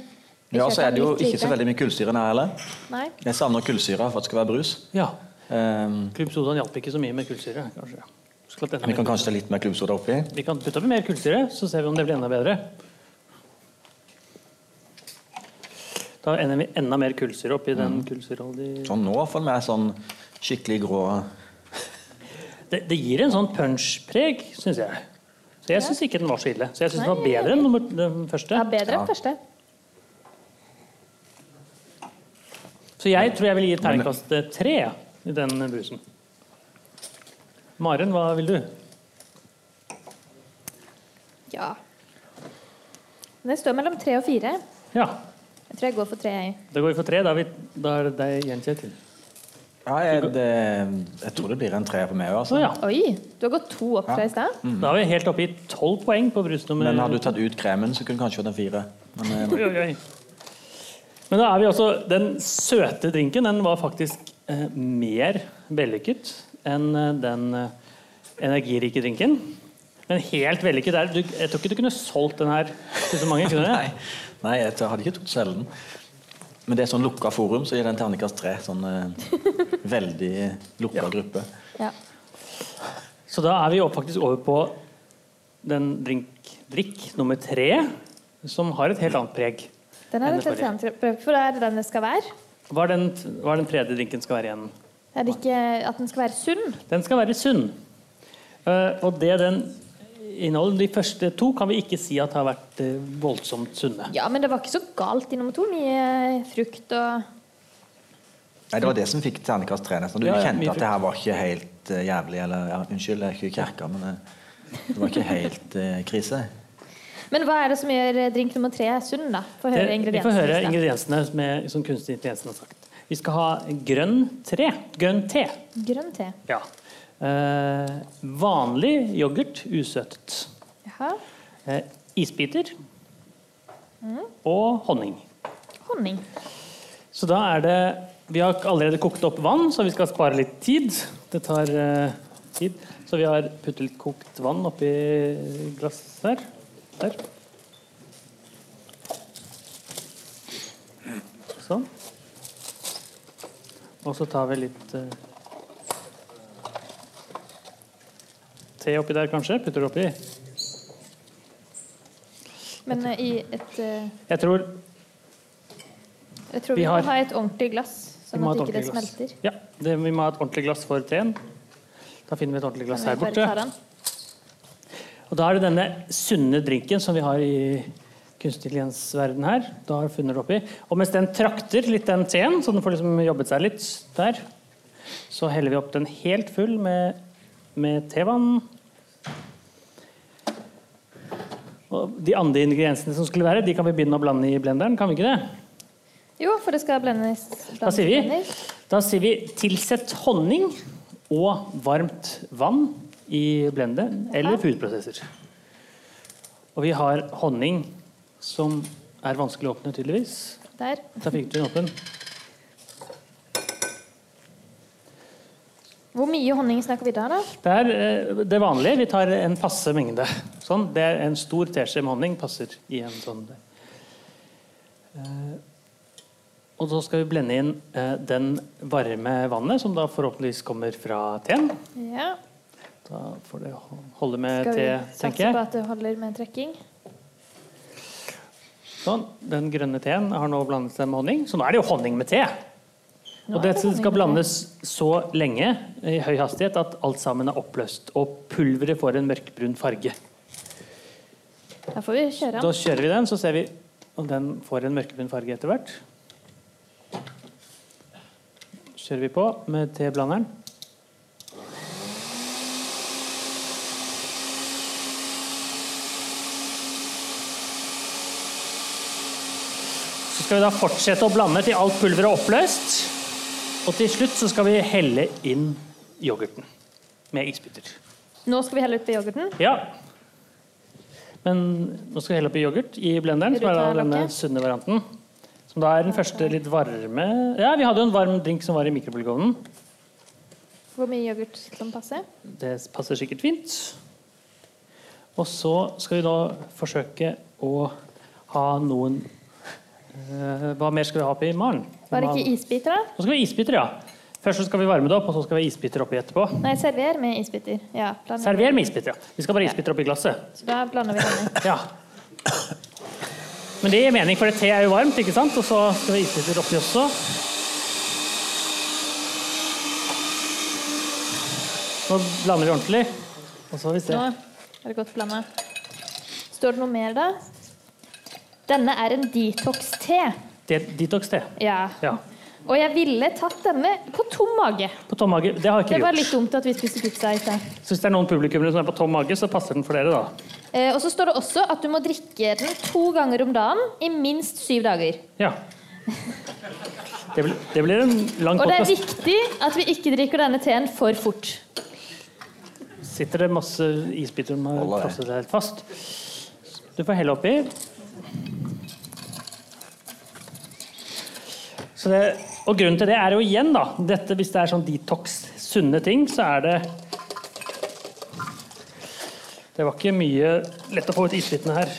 Speaker 5: Vi
Speaker 6: Mm. Ja,
Speaker 5: kjørte
Speaker 6: så er det jo
Speaker 5: litt
Speaker 6: ikke
Speaker 5: lite.
Speaker 6: så veldig mye kullsyre her heller.
Speaker 5: Nei.
Speaker 6: Jeg savner kullsyre for at det skal være brus.
Speaker 3: Ja.
Speaker 6: Um,
Speaker 3: Klubbsodaen hjalp ikke så mye med kullsyre. kanskje. Skulle hatt enda
Speaker 6: vi kan
Speaker 3: mer-
Speaker 6: kanskje ta litt mer klubbsoda oppi.
Speaker 3: Vi kan putte oppi mer kullsyre, så ser vi om det blir enda bedre. Da ender vi enda mer kullsyre oppi
Speaker 6: Mm.
Speaker 3: den kullsyreholdige
Speaker 6: Sånn, nå får vi sånn skikkelig grå
Speaker 3: det, det gir en sånn punch-preg, syns jeg. Så jeg syns ikke den var så ille. Så jeg syns den var bedre enn nummer, den første.
Speaker 5: Ja, bedre
Speaker 6: Ja.
Speaker 5: enn første.
Speaker 3: Så jeg tror jeg vil gi et terningkast eh, tre i den brusen. Maren, hva vil du?
Speaker 5: Ja. Men Det står mellom tre og fire.
Speaker 3: Ja,
Speaker 5: Jeg tror jeg går for tre. jeg.
Speaker 3: da går vi for tre. Da er, vi, da er det deg igjen, Kjetil.
Speaker 6: ja, jeg, det, jeg tror det blir en treer på meg òg,
Speaker 3: Så
Speaker 6: altså.
Speaker 3: ja,
Speaker 5: Oi! Du har gått to opp fra i stad.
Speaker 3: da er vi helt oppe i tolv poeng på brus nummer
Speaker 6: Mm. Men hadde du tatt ut kremen, så kunne du kanskje fått en fire. Men eh,
Speaker 3: Oi, oi, oi. Men da er vi også Den søte drinken den var faktisk eh, mer vellykket enn eh, den eh, energirike drinken. Men helt vellykket er du, Jeg tror ikke du kunne solgt den her til så mange. kunne
Speaker 6: nei,
Speaker 3: du?
Speaker 6: nei, jeg hadde ikke trodd selv den. Men det er sånn lukka forum, så gir den terningkast tre. Sånn eh, veldig lukka gruppe.
Speaker 5: Ja.
Speaker 3: Så da er vi jo faktisk over på den drink, drikk nummer tre, som har et helt annet preg.
Speaker 5: Den er
Speaker 3: Enn
Speaker 5: litt
Speaker 3: det forrige.
Speaker 5: alternativ. For da er det den det skal være.
Speaker 3: Hva er den, hva er den tredje drinken skal være igjen?
Speaker 5: Er det ikke at den skal være sunn?
Speaker 3: Den skal være sunn. Eh, og det den inneholder, de første to, kan vi ikke si at har vært eh, voldsomt sunne.
Speaker 5: Ja, men det var ikke så galt i nummer to. Mye eh, frukt og
Speaker 6: Nei, Det var det som fikk terningkast tre. nesten. Du
Speaker 3: Ja, ja,
Speaker 6: kjente
Speaker 3: mye
Speaker 6: at det her var ikke helt eh, jævlig. Eller ja, unnskyld, jeg er ikke i kjerka, men eh, det var ikke helt eh, krise.
Speaker 5: Men hva er det som gjør eh, drink nummer tre sunn, da? Få
Speaker 3: Det,
Speaker 5: høre
Speaker 3: Eh, vi får høre ingrediensene
Speaker 5: ingrediensene.
Speaker 3: som, er, som kunstig intelligens har sagt. Vi skal ha grønn tre. Grønn te.
Speaker 5: først, da. Grønn te.
Speaker 3: Ja. Eh, vanlig yoghurt, usøtet.
Speaker 5: Jaha.
Speaker 3: Eh, isbiter. Og honning.
Speaker 5: Honning.
Speaker 3: Så da er det Vi har allerede kokt opp vann, så vi skal spare litt tid. Det tar eh, tid. Så vi har puttet litt kokt vann oppi glass her. Der. Sånn. Og så tar vi litt eh, te oppi der, kanskje. Putter det oppi.
Speaker 5: Men eh, i et eh,
Speaker 3: Jeg tror
Speaker 5: Jeg tror
Speaker 3: Vi
Speaker 5: vi,
Speaker 3: har-
Speaker 5: må ha et ordentlig glass,
Speaker 3: vi
Speaker 5: sånn
Speaker 3: må ha
Speaker 5: at
Speaker 3: et
Speaker 5: ikke det
Speaker 3: ordentlig glass.
Speaker 5: smelter.
Speaker 3: Ja, det, vi må ha et ordentlig glass for teen. Da finner vi et ordentlig glass
Speaker 5: Men
Speaker 3: her
Speaker 5: vi bare tar
Speaker 3: borte.
Speaker 5: den.
Speaker 3: Og da er det denne sunne drinken som vi har i kunstig intelligens-verden her. Da har funnet det oppi. Og mens den trakter litt den teen, så den får liksom jobbet seg litt der, så heller vi opp den helt full med, med tevann. Og de andre ingrediensene som skulle være, de kan vi begynne å blande i blenderen, kan vi ikke det?
Speaker 5: Jo, for det skal blendes.
Speaker 3: Da sier vi,
Speaker 5: blendes.
Speaker 3: da sier vi tilsett honning og varmt vann i blenderen eller foodprosesser. Og vi har honning som er vanskelig å åpne, tydeligvis.
Speaker 5: Der.
Speaker 3: Da fikk du den åpen.
Speaker 5: Hvor mye honning snakker vi da, da?
Speaker 3: Det er eh, det vanlige. Vi tar en passe mengde. Sånn, det er En stor teskje med honning passer i en sånn Eh, Og så skal vi blende inn eh, den varme vannet, som da forhåpentligvis kommer fra teen.
Speaker 5: Ja.
Speaker 3: Da får det ho- holde med
Speaker 5: Skal vi
Speaker 3: te, tenker
Speaker 5: satse på
Speaker 3: jeg.
Speaker 5: at det holder med trekking?
Speaker 3: Sånn, Den grønne teen har nå blandet seg med honning, så nå er det jo honning med te.
Speaker 5: Nå
Speaker 3: Og
Speaker 5: er
Speaker 3: dette
Speaker 5: det honning
Speaker 3: skal
Speaker 5: med
Speaker 3: blandes så lenge i høy hastighet at alt sammen er oppløst, og pulveret får en mørkbrun farge.
Speaker 5: te. Da får vi kjøre
Speaker 3: Da
Speaker 5: den.
Speaker 3: kjører vi den, så ser vi om den får en mørkebrun farge etter hvert. Kjører vi på med teblanderen. Så skal vi da fortsette å blande til alt pulveret er oppløst. Og til slutt så skal vi helle inn yoghurten med isbiter.
Speaker 5: Nå skal vi helle ut på yoghurten.
Speaker 3: Ja. Men nå skal jeg helle oppi yoghurt i blenderen,
Speaker 5: Vil
Speaker 3: som
Speaker 5: du
Speaker 3: er da
Speaker 5: ta
Speaker 3: denne
Speaker 5: lokket?
Speaker 3: sunne varianten. Som da er den første litt varme Ja, vi hadde jo en varm drink som var i mikrobølgeovnen.
Speaker 5: Hvor mye yoghurt kan passe?
Speaker 3: Det passer sikkert fint. Og så skal vi da forsøke å ha noen Eh, Hva mer skal vi ha oppi i morgen?
Speaker 5: Var det ikke isbiter, da?
Speaker 3: Nå skal vi ha isbiter, ja. Først så skal vi varme det opp, og så skal vi ha isbiter oppi etterpå.
Speaker 5: Nei, server med isbiter. Ja, blander-
Speaker 3: Server med isbiter, ja. Vi skal bare ha isbiter oppi glasset.
Speaker 5: Så da blander vi den i.
Speaker 3: Ja. Men det gir mening, for det te er jo varmt, ikke sant? Og så skal vi ha isbiter oppi også. Nå blander vi ordentlig. Og så har vi se.
Speaker 5: Nå er det godt blanda. Står det noe mer, da? Denne er en detox-te.
Speaker 3: Det er Detox-te.
Speaker 5: Ja.
Speaker 3: Ja.
Speaker 5: Og jeg ville tatt denne på tom mage.
Speaker 3: På tom mage. Det har ikke
Speaker 5: Det
Speaker 3: vi
Speaker 5: var
Speaker 3: gjort.
Speaker 5: litt dumt at vi spiste pizza i sted.
Speaker 3: Så hvis det er noen publikummere som er på tom mage, så passer den for dere, da.
Speaker 5: Eh, og så står det også at du må drikke den to ganger om dagen i minst syv dager.
Speaker 3: Ja. Det blir, det blir en lang
Speaker 5: Og det er
Speaker 3: podcast.
Speaker 5: viktig at vi ikke drikker denne teen for fort.
Speaker 3: Sitter det masse isbiter som har
Speaker 6: Holder det.
Speaker 3: frosset seg helt fast. Du får helle oppi. Så det, og grunnen til det er jo igjen, da dette, Hvis det er sånn detox, sunne ting, så er det Det var ikke mye lett å få ut isbitene her.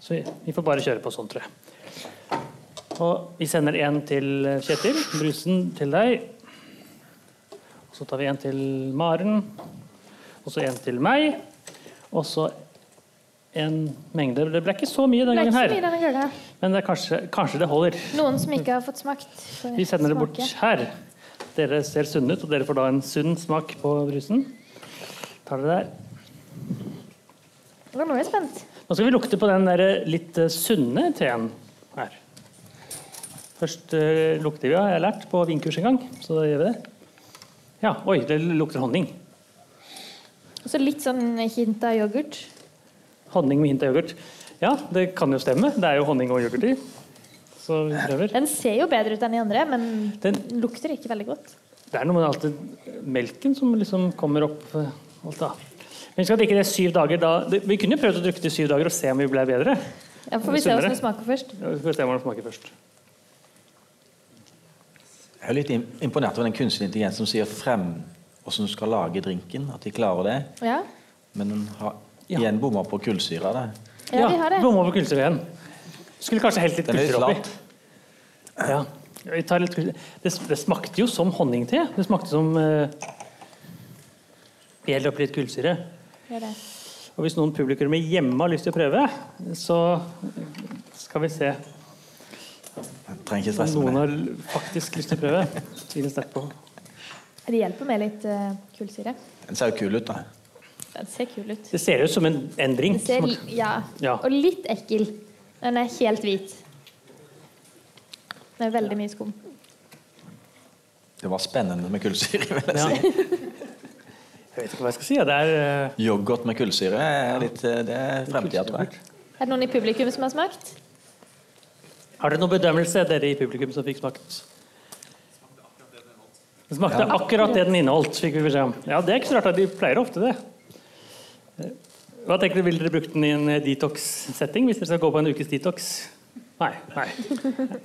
Speaker 3: Så vi, vi får bare kjøre på sånn, tror jeg. Og vi sender en til eh, Kjetil. Brusen til deg. Så tar vi en til Maren, og så en til meg, og så en mengde. Det ble ikke så mye
Speaker 5: Det
Speaker 3: den
Speaker 5: er
Speaker 3: gangen
Speaker 5: ikke så mye
Speaker 3: her,
Speaker 5: denne gula.
Speaker 3: men det er kanskje, kanskje det holder.
Speaker 5: Noen som ikke har fått smakt. får
Speaker 3: Vi sender det bort
Speaker 5: smake.
Speaker 3: her. Dere ser sunne ut, og dere får da en sunn smak på brusen. Tar dere der.
Speaker 5: Nå er jeg spent.
Speaker 3: Nå skal vi lukte på den der litt eh, sunne teen her. Først eh, lukter vi, har jeg lært, på vinkurs en gang. Så da gjør vi det. Ja, oi, det lukter honning.
Speaker 5: Og så litt sånn hint av yoghurt.
Speaker 3: Honning med hint av yoghurt. Ja, det kan jo stemme. Det er jo honning og yoghurt i. Så vi prøver.
Speaker 5: Den ser jo bedre ut enn de andre, men
Speaker 3: Den,
Speaker 5: den lukter ikke veldig godt.
Speaker 3: det er noe med alltid melken som liksom kommer opp. eh, Alt da. Men vi skal drikke det syv dager da. det- Vi kunne jo prøvd å drikke det i syv dager og se om vi ble bedre.
Speaker 5: Ja, får vi se
Speaker 3: Sunnere.
Speaker 5: hvordan det smaker først.
Speaker 3: Ja, Vi får se hvordan det smaker først.
Speaker 6: Jeg er litt im- imponert over den kunstige intelligensen som sier frem hvordan du skal lage drinken. At de klarer det.
Speaker 5: Ja,
Speaker 6: Men den har
Speaker 3: Ja.
Speaker 6: igjen bomma på kullsyra. da.
Speaker 5: ja vi har det.
Speaker 3: Bomma på kullsyre igjen. Skulle kanskje helt litt
Speaker 6: Den er litt
Speaker 3: kullsyre oppi.
Speaker 6: flat.
Speaker 3: Ja. Vi tar litt kullsyre. det, det smakte jo som honningte. Det smakte som eh, Hell oppi litt kullsyre.
Speaker 5: Vi har det.
Speaker 3: Og hvis noen publikummere hjemme har lyst til å prøve, så skal vi se
Speaker 6: Jeg Trenger ikke
Speaker 3: om
Speaker 6: stresse
Speaker 3: noen
Speaker 6: med det.
Speaker 3: har faktisk lyst til å prøve. Tviler sterkt på.
Speaker 5: Det hjelper med litt eh, kullsyre.
Speaker 6: Den ser jo kul ut, da.
Speaker 5: Den ser kul ut.
Speaker 3: Det ser ut som en, en
Speaker 5: Den
Speaker 3: drink.
Speaker 5: ser, ja.
Speaker 3: Ja.
Speaker 5: Og litt ekkel. Den er helt hvit. Den er veldig mye skum.
Speaker 6: Det var spennende med kullsyre. vil jeg
Speaker 3: Ja.
Speaker 6: si.
Speaker 3: Jeg vet ikke hva jeg skal si. ja. Det er eh,
Speaker 6: Yoghurt med kullsyre er litt eh, Det er fremtida, tror jeg.
Speaker 5: Er det noen i publikum som har smakt?
Speaker 3: Har dere noen bedømmelse, dere i publikum som fikk smakt? Det smakte akkurat det den inneholdt, fikk vi beskjed om. Ja, det er ikke så rart, da. de pleier ofte det. Hva tenker dere, Ville dere brukt den i en eh, detox-setting hvis dere skal gå på en ukes detox? Nei. nei.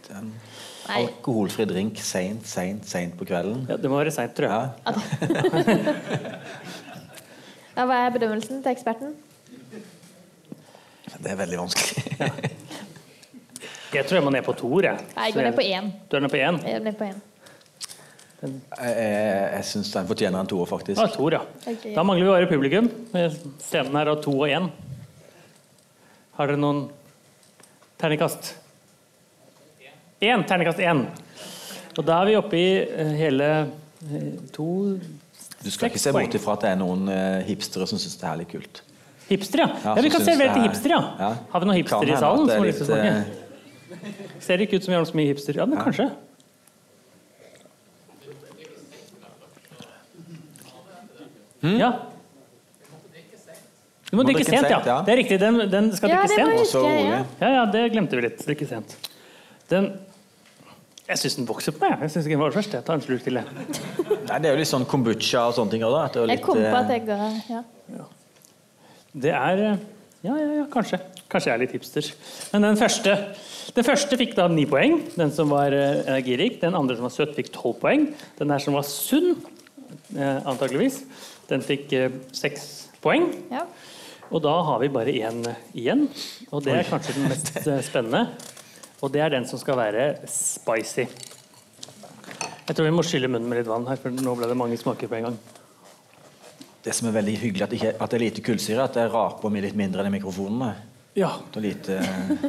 Speaker 5: Nei.
Speaker 6: Alkoholfri drink seint, seint, seint på kvelden.
Speaker 3: Ja, det må være seint, tror jeg.
Speaker 6: Ja.
Speaker 5: Ja, hva er bedømmelsen til eksperten?
Speaker 6: Det er veldig vanskelig.
Speaker 3: Jeg tror jeg må ned på toer. Jeg.
Speaker 5: Nei, jeg
Speaker 3: Så
Speaker 5: går
Speaker 3: jeg-
Speaker 5: ned på én.
Speaker 3: Du er ned på én?
Speaker 5: Jeg går ned på én.
Speaker 6: Jeg, jeg, jeg syns den fortjener en toer, faktisk.
Speaker 3: Ja, toer, ja.
Speaker 5: Ok.
Speaker 3: Da mangler vi bare publikum. Scenen her har to og én. Har dere noen terningkast? Én. Terningkast én. Og da er vi oppe i eh, hele eh, to
Speaker 6: Du skal ikke
Speaker 3: seks
Speaker 6: se
Speaker 3: poeng.
Speaker 6: bort ifra at det er noen eh, hipstere som syns det her er litt kult.
Speaker 3: Hipster, ja. ja,
Speaker 6: som
Speaker 3: Vi kan
Speaker 6: synes
Speaker 3: servere
Speaker 6: det
Speaker 3: til
Speaker 6: er-
Speaker 3: hipster, ja.
Speaker 6: Ja.
Speaker 3: Har vi noen
Speaker 6: Kan
Speaker 3: hipster i
Speaker 6: hende
Speaker 3: salen?
Speaker 6: at
Speaker 3: som
Speaker 6: det er
Speaker 3: har lyst til å
Speaker 6: litt, eh,
Speaker 3: snakke? Ser ikke ut som vi har så mye hipster. Ja, men kanskje. Ja. Du Hm? må drikke sent, ja. Det er riktig. Den, den skal
Speaker 5: Ja,
Speaker 3: drikke
Speaker 5: det må
Speaker 3: sent.
Speaker 5: jeg
Speaker 6: Og
Speaker 5: huske.
Speaker 6: så
Speaker 5: Ja.
Speaker 6: rolig.
Speaker 3: Ja, ja, det glemte vi litt. Drikke sent. Den Jeg syns den vokser på meg. jeg. Jeg synes ikke den var først. Jeg tar en slurk til. jeg.
Speaker 6: Nei, det er jo litt sånn kombucha og sånne ting også, da. At det er jo
Speaker 5: Jeg kom på at
Speaker 6: litt, eh,
Speaker 5: jeg ga ja.
Speaker 3: Det er eh, Ja, ja, ja, kanskje. Kanskje jeg er litt hipster. Men den første den første fikk da ni poeng. Den som var eh, energirik. Den andre som var søt, fikk tolv poeng. Den her som var sunn, eh, antakeligvis, den fikk eh, seks poeng.
Speaker 5: ja.
Speaker 3: Og da har vi bare én igjen. Og det er kanskje den mest eh, spennende. Og det er den som skal være spicy. Jeg tror vi må skylle munnen med litt vann her, for nå ble det mange smaker på en gang.
Speaker 6: Det som er veldig hyggelig at, det ikke, at det er lite kullsyre, at det raper mye litt mindre enn i mikrofonene.
Speaker 3: Ja.
Speaker 6: Og lite,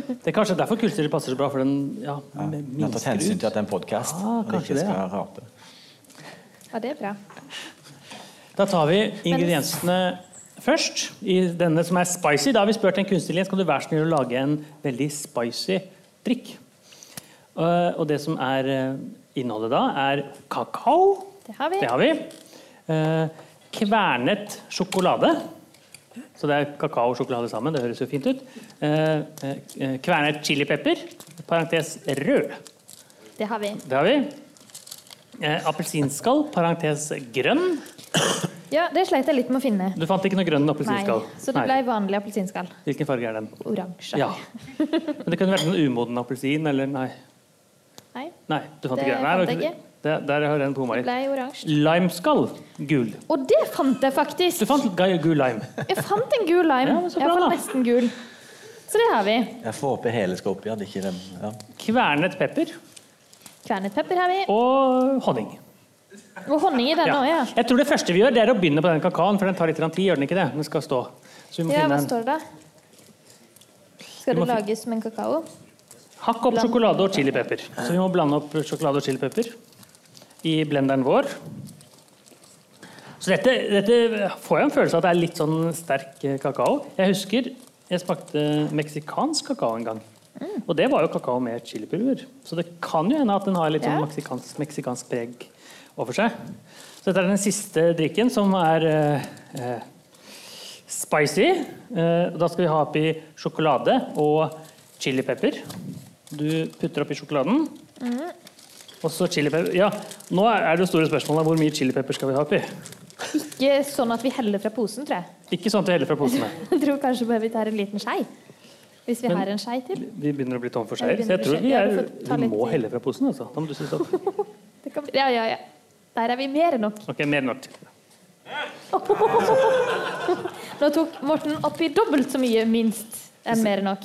Speaker 3: Det er kanskje derfor kullsyre passer så bra, for den ja,
Speaker 6: ja, vi har tatt
Speaker 3: minsker
Speaker 6: hensyn
Speaker 3: ut.
Speaker 6: til at det er en podkast.
Speaker 3: Ah,
Speaker 6: og det
Speaker 3: kanskje
Speaker 6: ikke
Speaker 3: det,
Speaker 6: skal
Speaker 3: ja.
Speaker 6: rape.
Speaker 5: Ja, det er bra.
Speaker 3: Da tar vi ingrediensene først. I denne som er spicy. Da har vi spurt en kunstner skal du være snill å lage en veldig spicy drikk. Eh, Og det som er eh, innholdet da, er kakao.
Speaker 5: Det har vi.
Speaker 3: Det har vi. Eh, Kvernet sjokolade. Så det er kakao og sjokolade sammen. Det høres jo fint ut. Eh, eh, Kvernet chilipepper. Parentes rød.
Speaker 5: Det har vi.
Speaker 3: Det har vi. Eh, Appelsinskall. Parentes grønn.
Speaker 5: Ja, det sleit jeg litt med å finne.
Speaker 3: Du fant ikke noe grønn
Speaker 5: Nei,
Speaker 3: appelsinskall?
Speaker 5: så det
Speaker 3: Nei.
Speaker 5: ble vanlig appelsinskall.
Speaker 3: Hvilken farge er den?
Speaker 5: Oransje.
Speaker 3: Ja. Men det kunne vært en umoden appelsin, eller nei.
Speaker 5: Nei,
Speaker 3: Nei, du fant ikke den. Nei,
Speaker 5: Det fant
Speaker 3: det var
Speaker 5: jeg ikke.
Speaker 3: Det, der har den bomma
Speaker 5: det
Speaker 3: litt.
Speaker 5: ble oransje.
Speaker 3: Limeskall. Gul.
Speaker 5: Og det fant jeg
Speaker 3: Du
Speaker 5: faktisk!
Speaker 3: fant gu- gul lime.
Speaker 5: Jeg fant en gul lime.
Speaker 3: Ja, men så
Speaker 5: jeg
Speaker 3: bra,
Speaker 5: fant
Speaker 3: da.
Speaker 5: nesten gul. Så det har vi.
Speaker 6: Jeg får håpe hele skal opp igjen. Ikke den, ja.
Speaker 3: Kvernet pepper
Speaker 5: Kvernet pepper har vi.
Speaker 3: og honning.
Speaker 5: Og honning i denne òg, ja.
Speaker 3: Jeg tror det første vi gjør, det er å begynne på den kakaoen, for den tar litt grann tid. gjør den ikke det? Den skal stå. Så vi må
Speaker 5: Ja, hva
Speaker 3: finne en
Speaker 5: står det da? Skal
Speaker 3: Du må
Speaker 5: det
Speaker 3: fin-
Speaker 5: lages som en kakao?
Speaker 3: Hakk opp sjokolade og chilipepper. Så vi må blande opp sjokolade og chilipepper i blenderen vår. Så dette, dette får jeg en følelse av at det er litt sånn sterk eh, kakao. Jeg husker jeg smakte meksikansk kakao en gang. Og det var jo kakao med chilipulver. Så det kan jo hende at den har litt sånn
Speaker 5: Ja.
Speaker 3: meksikansk, meksikansk preg over seg. Så dette er den siste drikken, som er eh, eh, spicy. Eh, og da skal vi ha oppi sjokolade og chilipepper. Du putter oppi sjokoladen.
Speaker 5: Mhm.
Speaker 3: Og så chilipepper. Ja, nå er er det store spørsmålet hvor mye chilipepper skal vi ha oppi.
Speaker 5: Ikke sånn at vi heller fra posen, tror jeg.
Speaker 3: Ikke sånn at vi heller fra posene.
Speaker 5: Jeg tror kanskje bare vi tar en liten skei. Hvis vi
Speaker 3: Men-
Speaker 5: har en skei til.
Speaker 3: Vi begynner å bli tom for
Speaker 5: Ja, vi
Speaker 3: skeier, så jeg
Speaker 5: begynner å
Speaker 3: tror
Speaker 5: bli
Speaker 3: vi,
Speaker 5: skeier.
Speaker 3: er,
Speaker 5: Ja, vi får ta
Speaker 3: vi
Speaker 5: litt
Speaker 3: må
Speaker 5: tid.
Speaker 3: helle fra posen. Altså. Da må du synes opp.
Speaker 5: Det kan... Ja, ja, ja. Der er vi mer enn nok.
Speaker 3: Ok, mer enn nok.
Speaker 5: Nå tok Morten oppi dobbelt så mye, minst, enn mer enn nok.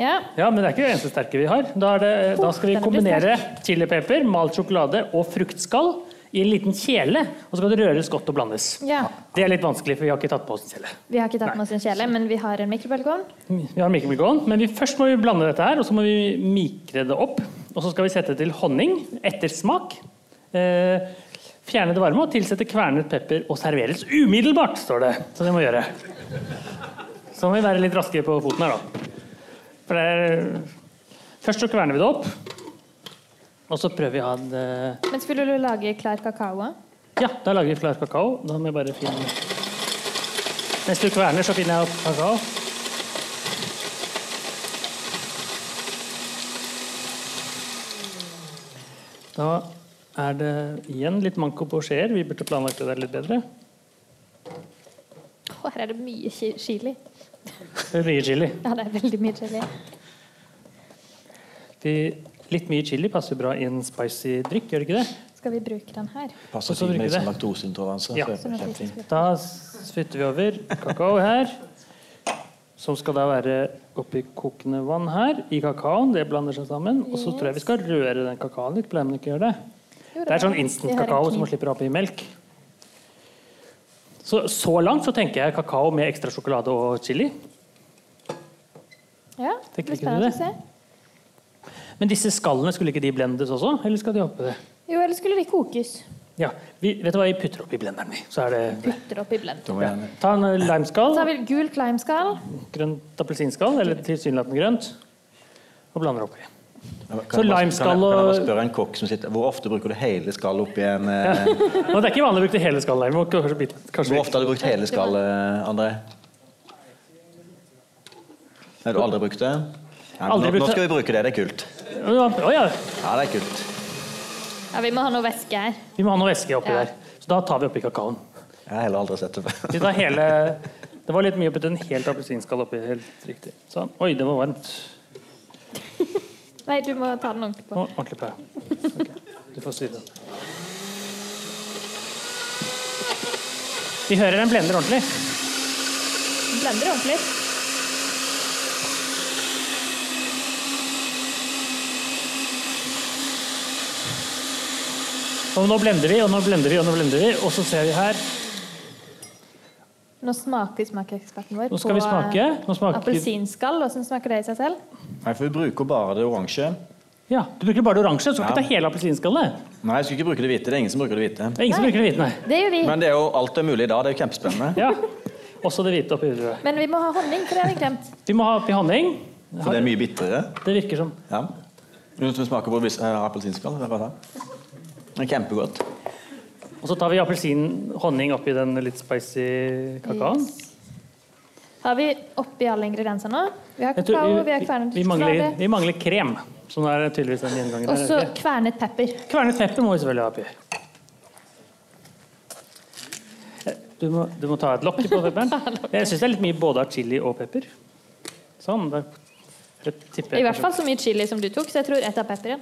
Speaker 5: Ja.
Speaker 3: Ja, men det er ikke det eneste sterke vi har. Da, er det, da skal vi
Speaker 5: den blir
Speaker 3: kombinere chilipepper, malt sjokolade og fruktskall i en liten kjele. Og så skal det røres godt og blandes.
Speaker 5: ja.
Speaker 3: Det er litt vanskelig, for vi har ikke tatt på oss en kjele.
Speaker 5: Vi har ikke tatt med oss en kjele, men vi har en mikrobølgeovn.
Speaker 3: Vi har mikromikron, men vi, først må vi blande dette her, og så må vi mikre det opp. Og så skal vi sette til honning etter smak. Eh, fjerne det varme og tilsette kvernet pepper og serveres umiddelbart, står det. Så det må vi gjøre. Så må vi være litt raskere på foten her, da. For det er Først så kverner vi det opp, og så prøver vi å ha en eh,
Speaker 5: Men skulle du lage klar kakao? også?
Speaker 3: ja, da lager vi klar kakao. Da må jeg bare finne Mens du kverner, så finner jeg opp kakao. Da er det igjen litt manko på skjeer. Vi burde planlagt det der litt bedre.
Speaker 5: Å, her er det mye chi- chili.
Speaker 3: Det er Mye chili.
Speaker 5: Ja, det er veldig mye chili.
Speaker 3: Vi, litt mye chili passer bra i en spicy drikk, gjør det ikke det?
Speaker 5: Skal vi bruke den her?
Speaker 3: Og
Speaker 6: Passer
Speaker 3: så
Speaker 6: fint med
Speaker 3: bruker
Speaker 6: litt sånn
Speaker 3: det.
Speaker 6: laktoseintoleranse.
Speaker 3: Ja.
Speaker 6: så er det
Speaker 5: Som jeg
Speaker 6: kjempefint.
Speaker 5: faktisk-
Speaker 3: Da spytter vi over kakao her. Som skal da være oppi kokende vann her i kakaoen. Det blander seg sammen. Og så tror jeg vi skal røre den kakaoen litt. Pleier man ikke å gjøre det?
Speaker 5: Jo,
Speaker 3: Det er sånn
Speaker 5: Vi har en
Speaker 3: instant-kakao som man
Speaker 5: kniv.
Speaker 3: slipper oppi melk. Så, så langt så tenker jeg kakao med ekstra sjokolade og chili.
Speaker 5: Ja, det
Speaker 3: Tenker
Speaker 5: blir
Speaker 3: ikke du
Speaker 5: spennende
Speaker 3: det?
Speaker 5: å se.
Speaker 3: Men disse skallene, skulle ikke de blendes også? Eller skal de oppi det?
Speaker 5: Jo, eller skulle de kokes?
Speaker 3: Ja, vi, vet du hva, vi putter oppi blenderen, vi. Så er det
Speaker 5: Putter opp i blend.
Speaker 6: Da må jeg gjerne-
Speaker 3: Ta en eh, limeskall.
Speaker 5: Så har vi gult limeskall.
Speaker 3: grønt appelsinskall, eller tilsynelatende grønt, og blander oppi.
Speaker 6: Kan jeg
Speaker 3: Så
Speaker 6: bare-
Speaker 3: limeskall
Speaker 6: kan jeg- Kan jeg bare
Speaker 3: og-
Speaker 6: spørre en kokk som sitter Hvor ofte bruker du hele skallet oppi en eh,
Speaker 3: Nå, det er ikke vanlig å bruke hele skallet. Vi må kanskje, bit- kanskje
Speaker 6: Hvor ofte har du brukt hele skallet, André? Nei, du har aldri brukt det? Nei, men
Speaker 3: Aldri
Speaker 6: nå,
Speaker 3: brukt
Speaker 6: nå
Speaker 3: det.
Speaker 6: skal vi bruke det. Det er kult.
Speaker 3: Å ja,
Speaker 6: Ja, det er kult.
Speaker 5: Ja, vi må ha noe væske her.
Speaker 3: vi må ha noe væske oppi
Speaker 5: Ja.
Speaker 3: der. Så da tar vi oppi kakaoen.
Speaker 6: Jeg har heller aldri sett det før.
Speaker 3: Vi tar hele, det var litt mye å putte en helt appelsinskall oppi. helt riktig. Sånn. Oi, det var varmt.
Speaker 5: Nei, du må ta den ordentlig på.
Speaker 3: Nå, ordentlig på. Ok, Du får styre den. Vi hører den blender ordentlig.
Speaker 5: Blender ordentlig.
Speaker 3: Og nå blender vi, og nå blender vi, og nå blender vi. Og så ser vi her.
Speaker 5: Nå smaker smakeeksperten vår
Speaker 3: Nå skal vi smake. Nå
Speaker 5: på
Speaker 3: smaker...
Speaker 5: appelsinskall. Hvordan smaker det i seg selv?
Speaker 7: Nei, for vi bruker bare det oransje.
Speaker 3: Ja, Du bruker bare det oransje. Du skal
Speaker 7: Ja.
Speaker 3: ikke ta hele appelsinskallet.
Speaker 7: Nei, jeg skulle ikke bruke det hvite. Det er ingen som bruker det hvite.
Speaker 3: Det er ingen som
Speaker 5: Nei.
Speaker 3: bruker det hvite, nei.
Speaker 5: Det gjør vi.
Speaker 7: Men det er jo alt er mulig da. Det er jo kjempespennende.
Speaker 3: Ja. Også det hvite oppi røde.
Speaker 5: Men vi må ha honning, for det har vi glemt.
Speaker 3: Vi må ha oppi honning.
Speaker 7: For det er mye bitrere.
Speaker 3: Det virker som
Speaker 7: Ja. Noen som smaker på vis- eh, appelsinskall? Det er bare det. Det er kjempegodt.
Speaker 3: Og så tar vi appelsin-honning oppi den litt spicy kakaoen.
Speaker 5: Yes. Har vi oppi alle ingrediensene nå? Vi har
Speaker 3: Jeg tror
Speaker 5: kakao, vi har
Speaker 3: vi,
Speaker 5: kvernet
Speaker 3: vi, mangler,
Speaker 5: sjokolade.
Speaker 3: vi mangler krem. Som er tydeligvis en gjenganger.
Speaker 5: Og
Speaker 3: her,
Speaker 5: så
Speaker 3: er det ikke?
Speaker 5: kvernet pepper.
Speaker 3: Kvernet pepper må vi selvfølgelig ha oppi. Du må, du må ta et lokk på pepperen. Jeg syns det er litt mye både av chili og pepper. Sånn. Da da tipper jeg
Speaker 5: I hvert fall så mye chili som du tok, så jeg tror ett av pepperen.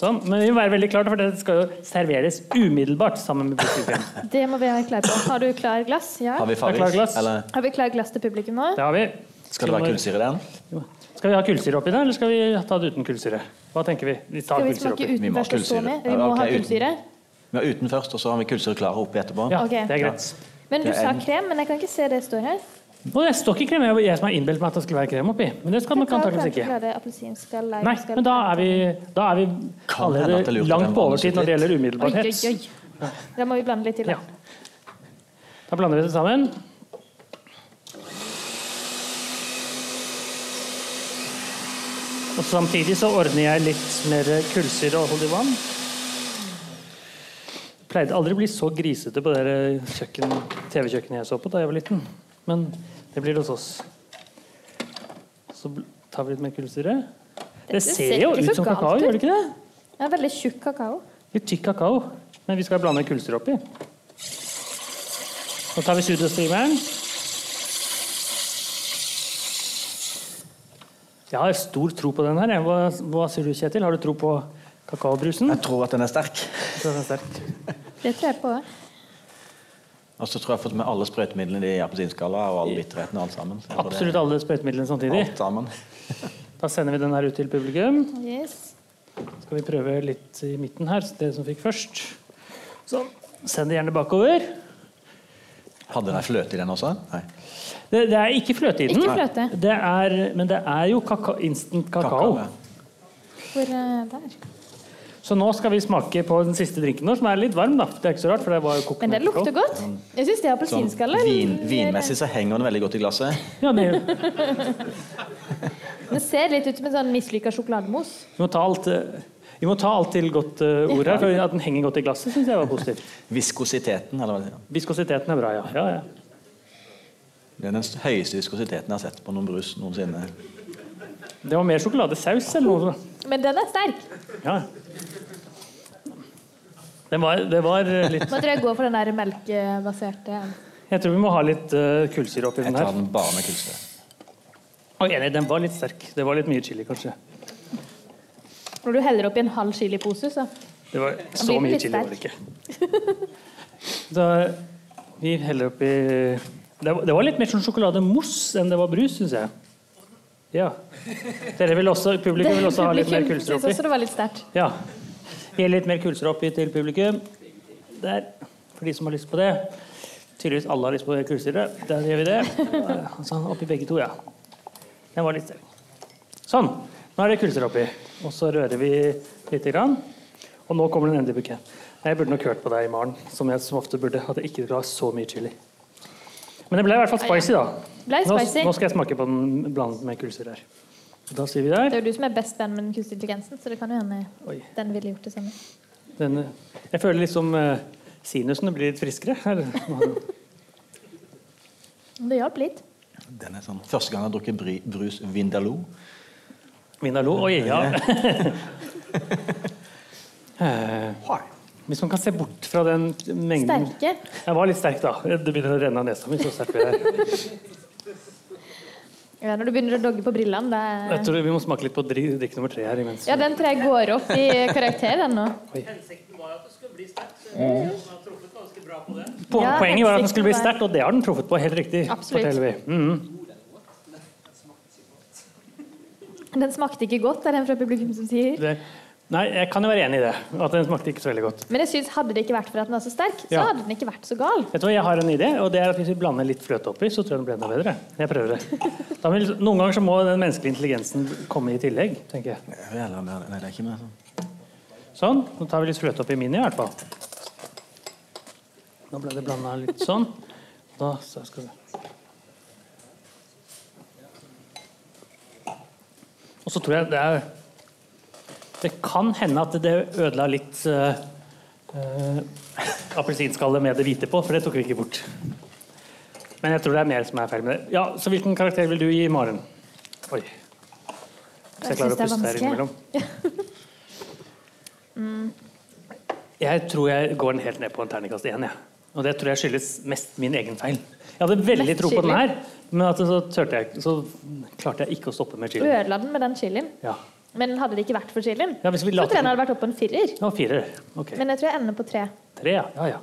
Speaker 3: Sånn, Men vi må være veldig klare, for det skal jo serveres umiddelbart sammen med bruskekrem.
Speaker 5: Det må vi være klare på. Har du klar glass? Ja.
Speaker 7: Har vi
Speaker 3: klart
Speaker 7: farris?
Speaker 3: glass.
Speaker 7: Eller
Speaker 5: Har vi klar glass til publikum òg?
Speaker 3: Det har vi.
Speaker 7: skal det være kullsyre i den?
Speaker 3: Skal vi ha kullsyre oppi det, eller skal vi ta det uten kullsyre? Hva tenker vi? Vi tar
Speaker 5: Skal vi
Speaker 3: kullsyre
Speaker 5: smake
Speaker 3: oppi.
Speaker 7: Vi
Speaker 5: uten
Speaker 7: må ha
Speaker 5: først og stå
Speaker 7: kullsyre.
Speaker 5: med? Vi
Speaker 7: Ja,
Speaker 5: må
Speaker 7: ok,
Speaker 5: ha
Speaker 7: uten.
Speaker 5: kullsyre.
Speaker 7: Vi har uten først, og så har vi kullsyre klare oppi etterpå.
Speaker 3: Ja,
Speaker 5: Ok.
Speaker 3: det er greit.
Speaker 5: Men du
Speaker 7: Det er
Speaker 5: sa
Speaker 7: en-
Speaker 5: krem, men jeg kan ikke se det står her.
Speaker 3: Og det står ikke krem. Jeg jeg som har innbilt meg at det skulle være krem oppi. Men det skal det nok antakeligvis ikke.
Speaker 5: Sjokolade, appelsinskall,
Speaker 3: Nei,
Speaker 5: leirskall,
Speaker 3: men da er vi, da er vi
Speaker 7: Kan hende at det
Speaker 3: allerede
Speaker 7: lurte
Speaker 3: langt
Speaker 7: den
Speaker 3: på
Speaker 7: vannet
Speaker 3: overtid
Speaker 7: sitt
Speaker 3: når
Speaker 7: litt.
Speaker 3: det gjelder
Speaker 5: Oi, oi,
Speaker 3: umiddelbarhet.
Speaker 5: oi. Da må vi blande litt til.
Speaker 3: Ja. Da
Speaker 5: da.
Speaker 3: blander vi det sammen. Og samtidig så ordner jeg litt mer kullsyre og holder i vann. Pleide aldri å bli så grisete på det der kjøkken, TV-kjøkkenet jeg så på da jeg var liten. Men det blir det hos oss. Så bl- tar vi litt mer kullsyre. Det
Speaker 5: Dette
Speaker 3: ser
Speaker 5: ser
Speaker 3: jo
Speaker 5: ikke
Speaker 3: ut
Speaker 5: så
Speaker 3: som
Speaker 5: galt
Speaker 3: kakao,
Speaker 5: ut.
Speaker 3: gjør det ikke det?
Speaker 5: Det er veldig tjukk kakao.
Speaker 3: Litt tykk kakao, men vi skal blande kullsyre oppi. Nå tar vi sudostrimeren. Jeg har stor tro på den her. jeg. Hva, hva sier du, Kjetil? Har du tro på kakaobrusen?
Speaker 7: Jeg tror at den er sterk.
Speaker 3: Jeg tror den er sterk.
Speaker 5: Det tror jeg på.
Speaker 7: Og så tror jeg jeg har fått med alle sprøytemidlene i appelsinskalla og all bitterheten og alt sammen. Så jeg tror det-
Speaker 3: Absolutt alle sprøytemidlene samtidig.
Speaker 7: Alt sammen.
Speaker 3: Da sender vi den her ut til publikum.
Speaker 5: Yes.
Speaker 3: Skal vi prøve litt i midten her, så dere som fikk først. Sånn. Send det gjerne bakover.
Speaker 7: Hadde den fløte i den også? Nei.
Speaker 3: Det, det er ikke fløte i den,
Speaker 5: Ikke fløte.
Speaker 3: Det er, men det er jo kaka, instant kakao.
Speaker 7: Kakao, ja. Sånn
Speaker 5: Hvor eh, der?
Speaker 3: Så nå skal vi smake på den siste drinken vår, som er litt varm. da. Det er ikke så rart, for det var jo kokt
Speaker 5: Men det
Speaker 3: melk
Speaker 5: lukter
Speaker 3: også.
Speaker 5: godt. Jeg syns det er
Speaker 7: Sånn,
Speaker 5: appelsinskalle.
Speaker 7: vin, vinmessig så henger den veldig godt i glasset.
Speaker 3: Ja, det,
Speaker 5: Den ser litt ut som en sånn mislykka sjokolademos.
Speaker 3: vi, må ta alt, eh, vi må ta alt til godt eh, ord her, for at den henger godt i glasset, syns jeg var positivt.
Speaker 7: Viskositeten, eller hva det er.
Speaker 3: Viskositeten er bra, ja. ja, ja.
Speaker 7: Det er den høyeste viskositeten jeg har sett på noen brus noensinne.
Speaker 3: Det var mer sjokoladesaus eller noe. sånt.
Speaker 5: Men den er sterk.
Speaker 3: Ja. Den var, det var eh, litt
Speaker 5: Nå tror jeg jeg går for den der melkebaserte.
Speaker 3: Jeg tror vi må ha litt eh, kullsyre oppi
Speaker 7: Jeg
Speaker 3: den
Speaker 7: tar
Speaker 3: her.
Speaker 7: den bare med kullsyre.
Speaker 3: Og enig, den var litt sterk. Det var litt mye chili, kanskje.
Speaker 5: Når du heller oppi en halv chilipose, så
Speaker 3: Det var så
Speaker 5: blir
Speaker 3: mye
Speaker 5: litt
Speaker 3: chili var det ikke. Da, vi heller oppi det, var- det var litt mer sånn sjokolademousse enn det var brus, syns jeg. Ja. Dere vil også, publikum vil også ha litt mer kullsyre
Speaker 5: synes også
Speaker 3: oppi?
Speaker 5: det var litt sterkt.
Speaker 3: Ja. Gi litt mer kullsyre oppi til publikum. Der. For de som har lyst på det. Tydeligvis alle har lyst på kullsyre. Der gjør vi det. Sånn, oppi begge to, ja. Den var litt sterk. Sånn. Nå er det kullsyre oppi. Og så rører vi lite grann. Og nå kommer den endelige bukett. Jeg burde nok hørt på deg i morgen, som jeg som ofte burde. At jeg ikke la så mye chili. Men det ble i hvert fall spicy, da.
Speaker 5: Blei
Speaker 3: Nå,
Speaker 5: spicy.
Speaker 3: nå skal jeg smake på den blandet med kullsyre her. Da sier vi
Speaker 5: Det
Speaker 3: der.
Speaker 5: er jo du som er best venn med den kunstige intelligensen, så det kan jo hende
Speaker 3: Oi.
Speaker 5: den ville gjort det samme.
Speaker 3: Den, jeg føler liksom eh, sinusene blir litt friskere. Her.
Speaker 5: Men Det hjalp litt.
Speaker 7: Den er sånn, Første gang jeg har drukket bry- brus Vindaloo.
Speaker 3: Vinalo. Oi, ja. Eh, Hvis man kan se bort fra den mengden
Speaker 5: Sterke.
Speaker 3: Jeg var litt sterk, da. Det begynner å renne av nesa mi. så sterk vi er.
Speaker 5: Ja, når du begynner å dogge på brillene, det
Speaker 3: Jeg
Speaker 5: er
Speaker 3: tror vi må smake litt på dri- drikk nummer tre her imens.
Speaker 5: Ja, den tror jeg går opp i karakter, den nå.
Speaker 3: Po-
Speaker 5: Ja,
Speaker 3: Poenget var at den
Speaker 5: hensikten
Speaker 3: skulle bli
Speaker 5: var-
Speaker 3: sterk, og det har den truffet på. Helt riktig.
Speaker 5: Absolutt.
Speaker 3: forteller vi. Mhm.
Speaker 5: Den smakte ikke godt, er den fra publikum som sier.
Speaker 3: Det, Nei, jeg kan jo være enig i det. At den smakte ikke så veldig godt.
Speaker 5: Men jeg synes, hadde det ikke vært for at den er så sterk, så
Speaker 3: Ja.
Speaker 5: hadde den ikke vært så gal.
Speaker 3: Vet du hva, Jeg har en idé, og det er at hvis vi blander litt fløte oppi, så tror jeg den blir enda bedre. Jeg prøver det. Da vil, noen ganger så må den menneskelige intelligensen komme i tillegg, tenker jeg.
Speaker 6: Jeg vil heller ha mer- Nei, det er ikke mer
Speaker 7: altså.
Speaker 6: sånn.
Speaker 3: Sånn. Nå tar vi litt fløte oppi min i hvert fall. Nå ble det blanda litt sånn. Da så skal vi Og så tror jeg det er Det kan hende at det ødela litt uh, appelsinskallet med det hvite på, for det tok vi ikke bort. Men jeg tror det er mer som er feil med det. Ja, Så hvilken karakter vil du gi Maren? Oi. Hvis jeg klarer å
Speaker 5: synes det er
Speaker 3: puste her
Speaker 5: vanskelig.
Speaker 3: innimellom. Jeg tror jeg går den helt ned på en terningkast én. jeg. Og det tror jeg skyldes mest min egen feil. Jeg hadde veldig
Speaker 5: Mest
Speaker 3: tro på den
Speaker 5: chili.
Speaker 3: her, men at så, tørte jeg, så klarte jeg ikke å stoppe med
Speaker 5: Du
Speaker 3: chili.
Speaker 5: ødela den med den chilien.
Speaker 3: Ja.
Speaker 5: Men hadde det ikke vært for chilien,
Speaker 3: Ja, hvis vi
Speaker 5: så
Speaker 3: later-
Speaker 5: tror jeg den hadde vært oppe på en firer.
Speaker 3: Det var fire. Ok.
Speaker 5: Men jeg tror jeg ender på tre.
Speaker 3: Tre, ja. ja, ja.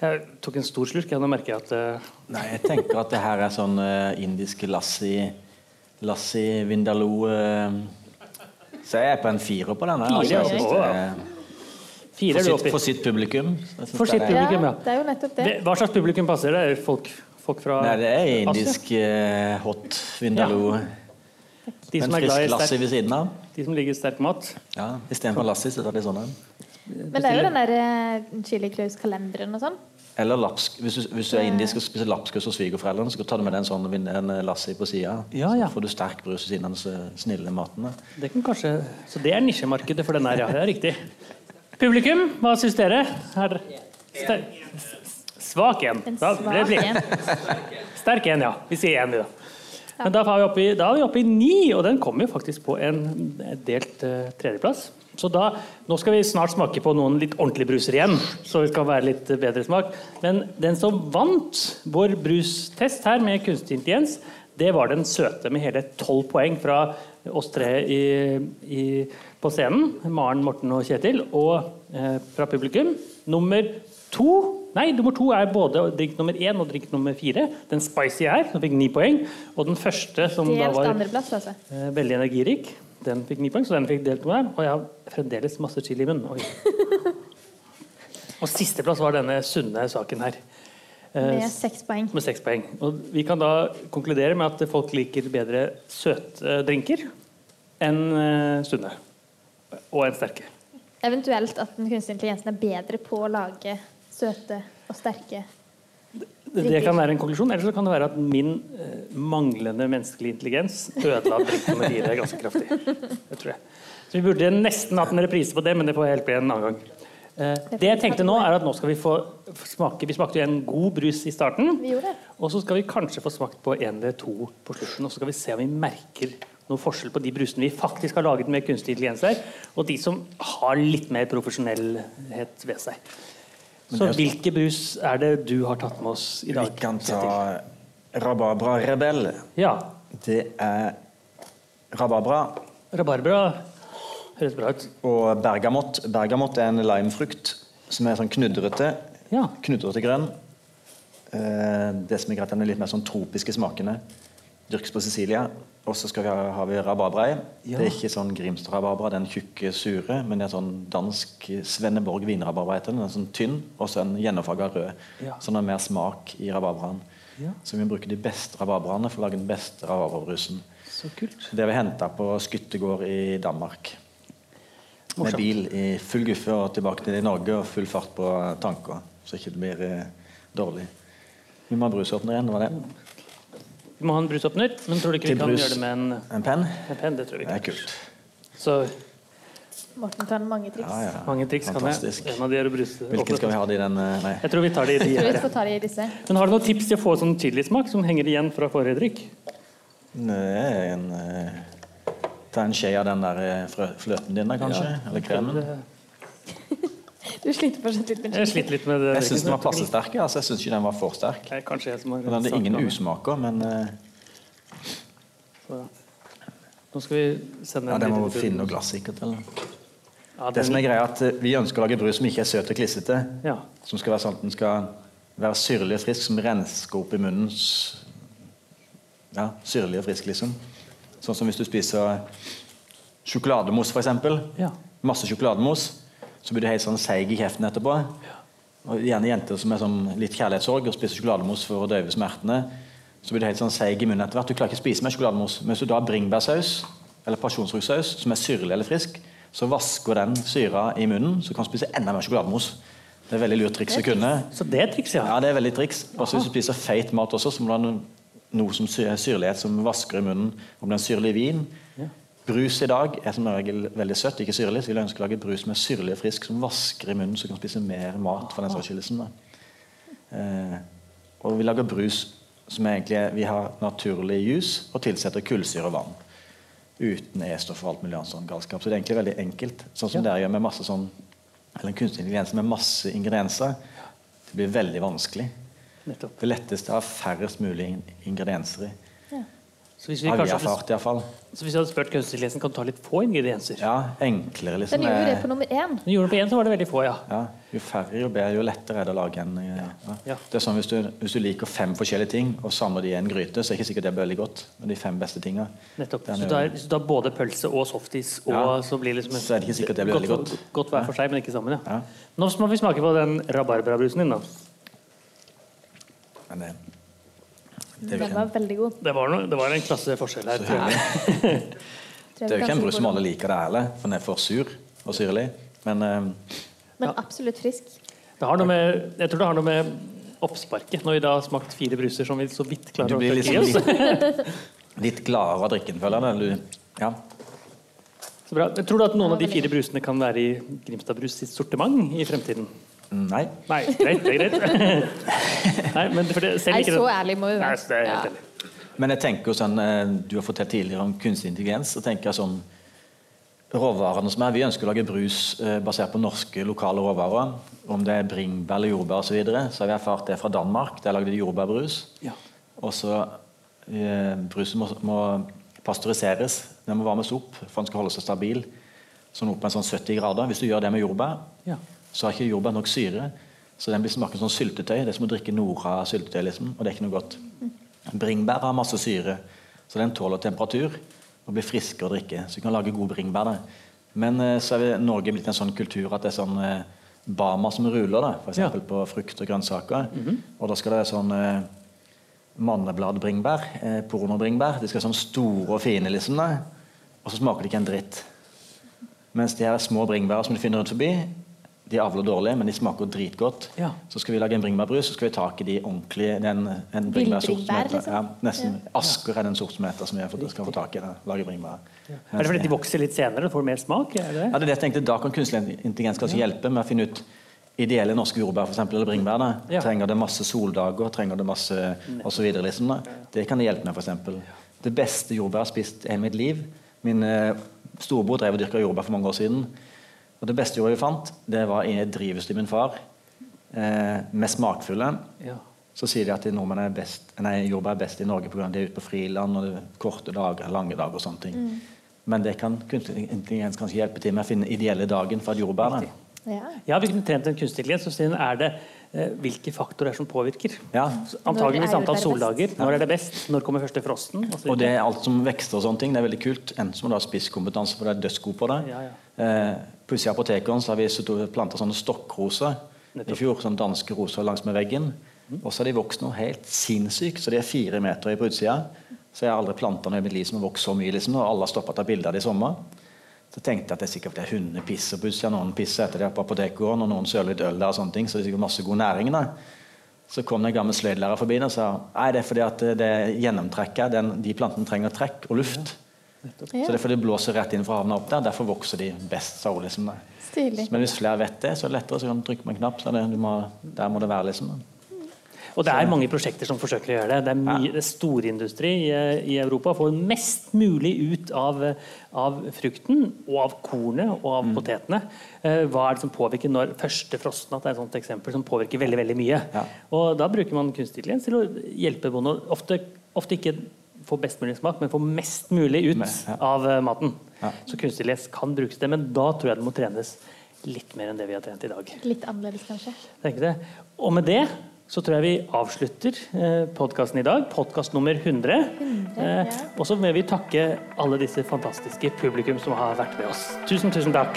Speaker 3: Jeg tok en stor slurk. ja, Nå merker jeg at eh,
Speaker 6: Nei, jeg tenker at det her er sånn eh, indisk lassi Lassi vindaloo eh. Så jeg er på en firer på denne. Altså, jeg
Speaker 3: Fire,
Speaker 6: synes
Speaker 3: ja.
Speaker 6: det er-
Speaker 3: fire
Speaker 6: for,
Speaker 3: er du
Speaker 6: sitt,
Speaker 3: oppi.
Speaker 6: for sitt publikum. så jeg synes
Speaker 3: For
Speaker 6: det
Speaker 3: sitt
Speaker 6: er-
Speaker 5: Ja,
Speaker 3: Publikum, ja.
Speaker 5: det er jo nettopp det.
Speaker 3: Det, hva slags publikum passer det? Er det Folk, folk fra
Speaker 6: Nei, det er
Speaker 3: Asia?
Speaker 6: indisk eh, hot vindaloo.
Speaker 3: De som,
Speaker 6: Men
Speaker 3: er glad
Speaker 6: frisk
Speaker 3: i
Speaker 6: lassi
Speaker 3: sterk,
Speaker 6: ved siden av.
Speaker 3: de som liker sterk mat.
Speaker 6: Ja, Istedenfor lassi, så tar de sånn en.
Speaker 5: Men det er jo den der eh, Chili Claus-kalenderen og sånn.
Speaker 6: Eller lapsk. Hvis du, hvis du
Speaker 3: Eh.
Speaker 6: er indisk og spiser lapskaus hos svigerforeldrene, så tar du med deg en sånn vin- en eh, lassi på sida.
Speaker 3: Ja, ja.
Speaker 6: Så får du sterk brus ved siden av den så snille maten. da.
Speaker 3: Det kan kanskje, så det er nisjemarkedet for den her, ja. Det er riktig. Publikum, hva syns dere? Er ster svak en.
Speaker 5: En
Speaker 3: Da ble det
Speaker 5: svak
Speaker 3: slik.
Speaker 5: en.
Speaker 3: Sterk en, ja. Vi sier én, vi, da. Men da er vi oppe i- da er vi oppe i ni, og den kommer jo faktisk på en delt eh, tredjeplass. Så da, Nå skal vi snart smake på noen litt ordentlige bruser igjen, så det skal være litt eh, bedre smak. Men den som vant vår brustest her med kunstig intelligens, det var den søte med hele tolv poeng fra oss tre i, i, på scenen. Maren, Morten og Kjetil. Og eh, fra publikum nummer To, nei, nummer to er både drink nummer én og drink nummer fire. Den spicy her, som fikk ni poeng. Og den første, som da
Speaker 5: Delt
Speaker 3: var
Speaker 5: andreplass, altså.
Speaker 3: eh, veldig energirik, den fikk ni poeng. Så den fikk delt noe her. Og jeg har fremdeles masse chili i munnen. Oi. og sisteplass var denne sunne saken her. Eh,
Speaker 5: Med seks poeng.
Speaker 3: med seks poeng. Og vi kan da konkludere med at folk liker bedre søte drinker enn eh, sunne. Og enn sterke.
Speaker 5: Eventuelt at den kunstige intelligensen er bedre på å lage søte og sterke.
Speaker 3: Det, det kan være en konklusjon, eller så kan det være at min eh, manglende menneskelig intelligens ødela drikk nummer fire ganske kraftig. Det tror jeg. Så vi burde nesten hatt en reprise på det, men det får helt bli en annen gang. Eh, det jeg tenkte nå, er at nå skal vi få få smake Vi smakte jo en god brus i starten.
Speaker 5: Vi gjorde det.
Speaker 3: Og så skal vi kanskje få smakt på en eller to på slutten, og så skal vi se om vi merker noen forskjell på de brusene vi faktisk har laget med kunstig intelligens her, og de som har litt mer profesjonellhet ved seg. Så hvilke brus er det du har tatt med oss i
Speaker 6: Vi
Speaker 3: dag?
Speaker 6: kan
Speaker 3: Kjetil?
Speaker 6: ta Rabarbra Rebell.
Speaker 3: Ja.
Speaker 6: Det er rabarbra
Speaker 3: Rabarbra høres bra ut.
Speaker 6: og bergamott. Bergamott er en limefrukt som er sånn knudrete.
Speaker 3: Ja.
Speaker 6: Knudrete grønn. Eh, Det som er greit, den er litt mer sånn tropiske smakene. Dyrkes på Sicilia. Og så skal vi ha, har vi rabarbra i. Det er ikke sånn Grimstad-rabarbra, den tjukke, eh, sure, men det er sånn dansk Svenneborg vinrabarbra heter den. Den er sånn tynn og så en gjennomfarga rød.
Speaker 3: Ja.
Speaker 6: Så den har mer smak i rabarbraen.
Speaker 3: Ja.
Speaker 6: Så vi bruker de beste rabarbraene for å lage den beste rabarbrabrusen.
Speaker 3: Så kult.
Speaker 6: Det har vi henta på skyttergård i Danmark. Med
Speaker 3: Morsomt.
Speaker 6: bil i full guffe og tilbake til Norge og full fart på tanker. Så ikke det blir eh, dårlig. Vi må ha brusåpner igjen. det var det.
Speaker 3: Vi må ha en brusåpner, men tror du ikke vi
Speaker 6: Til
Speaker 3: kan
Speaker 6: brus.
Speaker 3: gjøre det med en,
Speaker 6: En penn?
Speaker 3: en penn? Det tror vi
Speaker 6: Det er
Speaker 3: ikke.
Speaker 6: kult.
Speaker 3: Så
Speaker 5: Morten kan mange triks.
Speaker 6: Ja, ja.
Speaker 3: mange triks kan jeg.
Speaker 6: Fantastisk.
Speaker 3: En av de er å bruse.
Speaker 6: Hvilken skal vi ha det i den eh, Nei.
Speaker 3: Jeg tror vi tar det i de
Speaker 5: Tror vi
Speaker 3: her. ja.
Speaker 5: skal ta det i disse.
Speaker 3: Men har du noen tips til å få sånn chilismak som henger igjen fra forrige drikk?
Speaker 6: Mm. Nei, en, eh, ta en skje av den der eh, frø- fløten din, da, kanskje? Eller kremen?
Speaker 5: Du sliter fortsatt litt med
Speaker 3: Jeg sliter litt med det.
Speaker 6: Jeg syns den var passe sterk. Altså, jeg syns ikke den var for sterk.
Speaker 3: Nei, Kanskje jeg som har
Speaker 6: Den hadde ingen
Speaker 3: sagt
Speaker 6: usmaker, men eh,
Speaker 3: noe. Så, Nå skal vi sende
Speaker 6: ja,
Speaker 3: en
Speaker 6: den må
Speaker 3: liten-
Speaker 6: vi finne noe glass sikkert. Eller?
Speaker 3: Ja,
Speaker 6: Det som
Speaker 3: den,
Speaker 6: er greia er at eh, Vi ønsker å lage brus som ikke er søt og klissete.
Speaker 3: Ja.
Speaker 6: Som skal være sånn at den skal være syrlig og frisk, som rensker opp i munnen. s- Ja, syrlig og frisk, liksom. Sånn som hvis du spiser Sjokolademos, for eksempel.
Speaker 3: Ja.
Speaker 6: Masse sjokolademos. Så blir du helt sånn seig i kjeften etterpå. Og gjerne jenter som er sånn litt kjærlighetssorg og spiser sjokolademos for å døyve smertene. Så blir du helt sånn seig i munnen etter hvert. Du klarer ikke å spise mer sjokolademos. Men hvis du da har bringebærsaus eller pasjonsfruktsaus som er syrlig eller frisk, så vasker den syra i munnen, så kan du spise enda mer sjokolademos. Det er et veldig lurt triks å kunne.
Speaker 3: Så det er triks, ja.
Speaker 6: Ja, det er veldig triks. Også hvis du spiser feit mat også, så må du ha noe, noe som sy- syrlighet som vasker i munnen. Om det er en syrlig vin. Brus i dag er som regel veldig søtt, ikke syrlig. Så vil jeg ønske å lage brus som er syrlig og frisk, som vasker i munnen, så du kan spise mer mat for den sørskillelsen. Eh, og vi lager brus som er egentlig Vi har naturlig juice og tilsetter kullsyre og vann. Uten E-stoff og alt mulig annet sånn galskap. Så det er egentlig veldig enkelt. Sånn som dere gjør med masse sånn Eller en kunstig ingrediens med masse ingredienser. Det blir veldig vanskelig.
Speaker 3: Nettopp.
Speaker 6: Det letteste er færrest mulig in- ingredienser i.
Speaker 3: Så hvis vi
Speaker 6: Har vi
Speaker 3: kanskje hadde,
Speaker 6: erfart, iallfall.
Speaker 3: så hvis vi hadde spurt kunstintelligensen kan du ta litt få ingredienser
Speaker 6: Ja, enklere, liksom.
Speaker 5: Den gjorde jo det
Speaker 6: er-
Speaker 5: på nummer én.
Speaker 3: Men gjorde det på én, så var det veldig få, ja.
Speaker 6: ja, jo færre, jo bedre, jo lettere er det å lage en eh, ja.
Speaker 3: Ja.
Speaker 6: Det er sånn hvis du, hvis du liker fem forskjellige ting og samler de i en gryte, så er det ikke sikkert det blir veldig godt. Men de fem beste tinga
Speaker 3: Nettopp.
Speaker 6: Den
Speaker 3: Så
Speaker 6: er
Speaker 3: du har,
Speaker 6: jo-
Speaker 3: så du har både pølse og softis, og
Speaker 6: Ja.
Speaker 3: så blir det liksom
Speaker 6: Så er det ikke sikkert det blir veldig
Speaker 3: godt,
Speaker 6: godt.
Speaker 3: godt hver for seg, men ikke sammen. Ja.
Speaker 6: Ja.
Speaker 3: Nå må vi smake på den rabarbrabrusen din, da.
Speaker 6: Men det, det, er jo
Speaker 5: Den
Speaker 6: ikke
Speaker 5: var
Speaker 6: en,
Speaker 5: veldig god.
Speaker 3: Det var, noe, det var en klasseforskjell her. tror jeg.
Speaker 5: Tror jeg
Speaker 6: det er jo ikke en
Speaker 5: kanskje
Speaker 6: brus som
Speaker 5: går-
Speaker 6: alle liker, det heller. For den er for sur og syrlig. Men eh,
Speaker 5: Men absolutt frisk.
Speaker 3: Det har noe med, jeg tror det har noe med oppsparket, når vi da har smakt fire bruser som vi så vidt klarer
Speaker 6: du
Speaker 3: å
Speaker 6: blir
Speaker 3: tørke i
Speaker 6: liksom
Speaker 3: oss.
Speaker 6: litt, litt gladere av drikken, føler jeg. eller Du, ja.
Speaker 3: Så bra. Jeg tror du at noen av de fire brusene kan være i Grimstad Brus sitt sortiment i fremtiden?
Speaker 6: Nei.
Speaker 3: Nei, greit, det er greit. Nei, men for det, selv
Speaker 5: Nei,
Speaker 3: ikke
Speaker 5: så
Speaker 3: den-
Speaker 5: ærlig må vi
Speaker 3: Nei,
Speaker 5: være.
Speaker 3: så det er jeg helt enig.
Speaker 6: Men jeg tenker jo sånn, eh, du har fortalt tidligere om kunstig intelligens. så tenker jeg sånn, råvarene som er, Vi ønsker å lage brus eh, basert på norske, lokale råvarer. Om det er bringebær eller jordbær osv. Så, videre, så har vi erfart det fra Danmark. Der lagde de jordbærbrus.
Speaker 3: Ja.
Speaker 6: Og så eh, Brusen må, må pasteuriseres. Den må varmes opp for den skal holde seg stabil. Sånn opp med sånn 70 grader. Hvis du gjør det med jordbær,
Speaker 3: Ja.
Speaker 6: så har ikke jordbær nok syre. Så den blir smaken som syltetøy. Det er som å drikke Nora syltetøy, liksom, og det er ikke noe godt. Bringebær har masse syre, så den tåler temperatur og blir friskere å drikke. Så du kan lage gode bringebær. Da. Men eh, så er vi, Norge blitt en sånn kultur at det er sånn eh, Bama som ruler, da, for
Speaker 3: Ja.
Speaker 6: eksempel på frukt og grønnsaker. Og da skal det være sånn eh, mannebladbringebær, eh, pornobringebær. De skal være sånn store og fine, liksom. Da. Og så smaker de ikke en dritt. Mens de her små bringebærene som du finner rundt forbi, de avler dårlig, men de smaker dritgodt.
Speaker 3: Ja.
Speaker 6: Så skal vi lage en bringebærbrus, så skal vi tak i de ordentlige den, en bringebærsort som
Speaker 5: Villbringebær,
Speaker 6: heter-
Speaker 5: liksom?
Speaker 6: ja, Nesten Asker er den sort som heter som vi har fått- skal få tak i. da, Lage bringebær.
Speaker 3: Er det fordi de vokser litt senere og får mer smak? Er det?
Speaker 6: Ja, det er det jeg tenkte, Da kan kunstig intelligens kanskje hjelpe med å finne ut ideelle norske jordbær for eksempel, eller bringebær. Da.
Speaker 3: Ja.
Speaker 6: Trenger det masse soldager, trenger det masse osv. Liksom, da. det kan det hjelpe med. For eksempel. det beste jordbær jeg har spist i hele mitt liv Min eh, storebror drev og dyrka jordbær for mange år siden. Og det beste jordbæret vi fant, det var i drivhuset til min far. Eh, med smakfulle.
Speaker 3: Ja.
Speaker 6: Så sier de at de nordmenn er best, nei, jordbær er best i Norge pga. at de er ute på friland og det er korte dager, lange dager og sånne ting. Men det kan kunstig intelligens kanskje hjelpe til med å finne ideelle dagen for et jordbær. da.
Speaker 5: Ja.
Speaker 3: Ja, hvis kunne trent en kunstig intelligens, så sier den, er det eh, hvilke faktorer som påvirker.
Speaker 6: Ja.
Speaker 3: Så
Speaker 5: Når
Speaker 3: Antageligvis
Speaker 5: er
Speaker 3: antall
Speaker 5: det
Speaker 3: soldager. Når er det best? Når kommer første frosten? Og så videre.
Speaker 6: Og det er alt som vekster og sånne ting. Det er veldig kult. Enten så må du ha spisskompetanse, for du er dødsgod på det.
Speaker 3: Ja, ja.
Speaker 6: Eh, Plutselig i apotekeren så har vi satt- planta sånne stokkroser i fjor. Sånne danske roser langsmed veggen.
Speaker 3: Mm.
Speaker 6: Og så har de vokst noe helt sinnssykt. Så de er fire meter på utsida. Så jeg har aldri planta noe i mitt liv som har vokst så mye. liksom, Og alle har stoppa å ta bilde av det i sommer. Så tenkte jeg at det er sikkert fordi hundene pisser på utsida. Noen pisser etter de er på apotekgården, og noen søler litt øl der og sånne ting. Så det er sikkert masse god næring. da. Så kom det en gammel sløydlærer forbi og sa Nei, det er fordi at det gjennomtrekket, den, de plantene trenger trekk og luft. Så det er fordi det blåser rett inn fra havna opp der. Derfor vokser de best. sa hun liksom. da.
Speaker 5: Stilig.
Speaker 6: Men hvis flere vet det, så er det lettere. Så kan du trykke på en knapp. Så er det, du må, der må det være, liksom. da.
Speaker 3: Og det er mange prosjekter som forsøker å gjøre det. Det er, mye, det er storindustri i, i Europa. Får mest mulig ut av, av frukten, og av kornet og
Speaker 6: Mm.
Speaker 3: av potetene. Eh, Hva er det som påvirker når første frostnatt er et sånt eksempel som påvirker veldig veldig mye.
Speaker 6: Ja.
Speaker 3: Og da bruker man kunstig intelligens til å hjelpe bonden. å Ofte, ofte ikke få best mulig smak, men få mest mulig ut
Speaker 6: Mest, ja.
Speaker 3: av eh, maten.
Speaker 6: Ja.
Speaker 3: Så kunstig intelligens kan brukes til det, men da tror jeg det må trenes litt mer enn det vi har trent i dag.
Speaker 5: Litt annerledes, kanskje.
Speaker 3: Tenker det. Og med det så tror jeg vi avslutter eh, podkasten i dag. Podkast nummer 100.
Speaker 5: ja.
Speaker 3: Eh, og så må vi takke alle disse fantastiske publikum som har vært med oss. Tusen, tusen takk.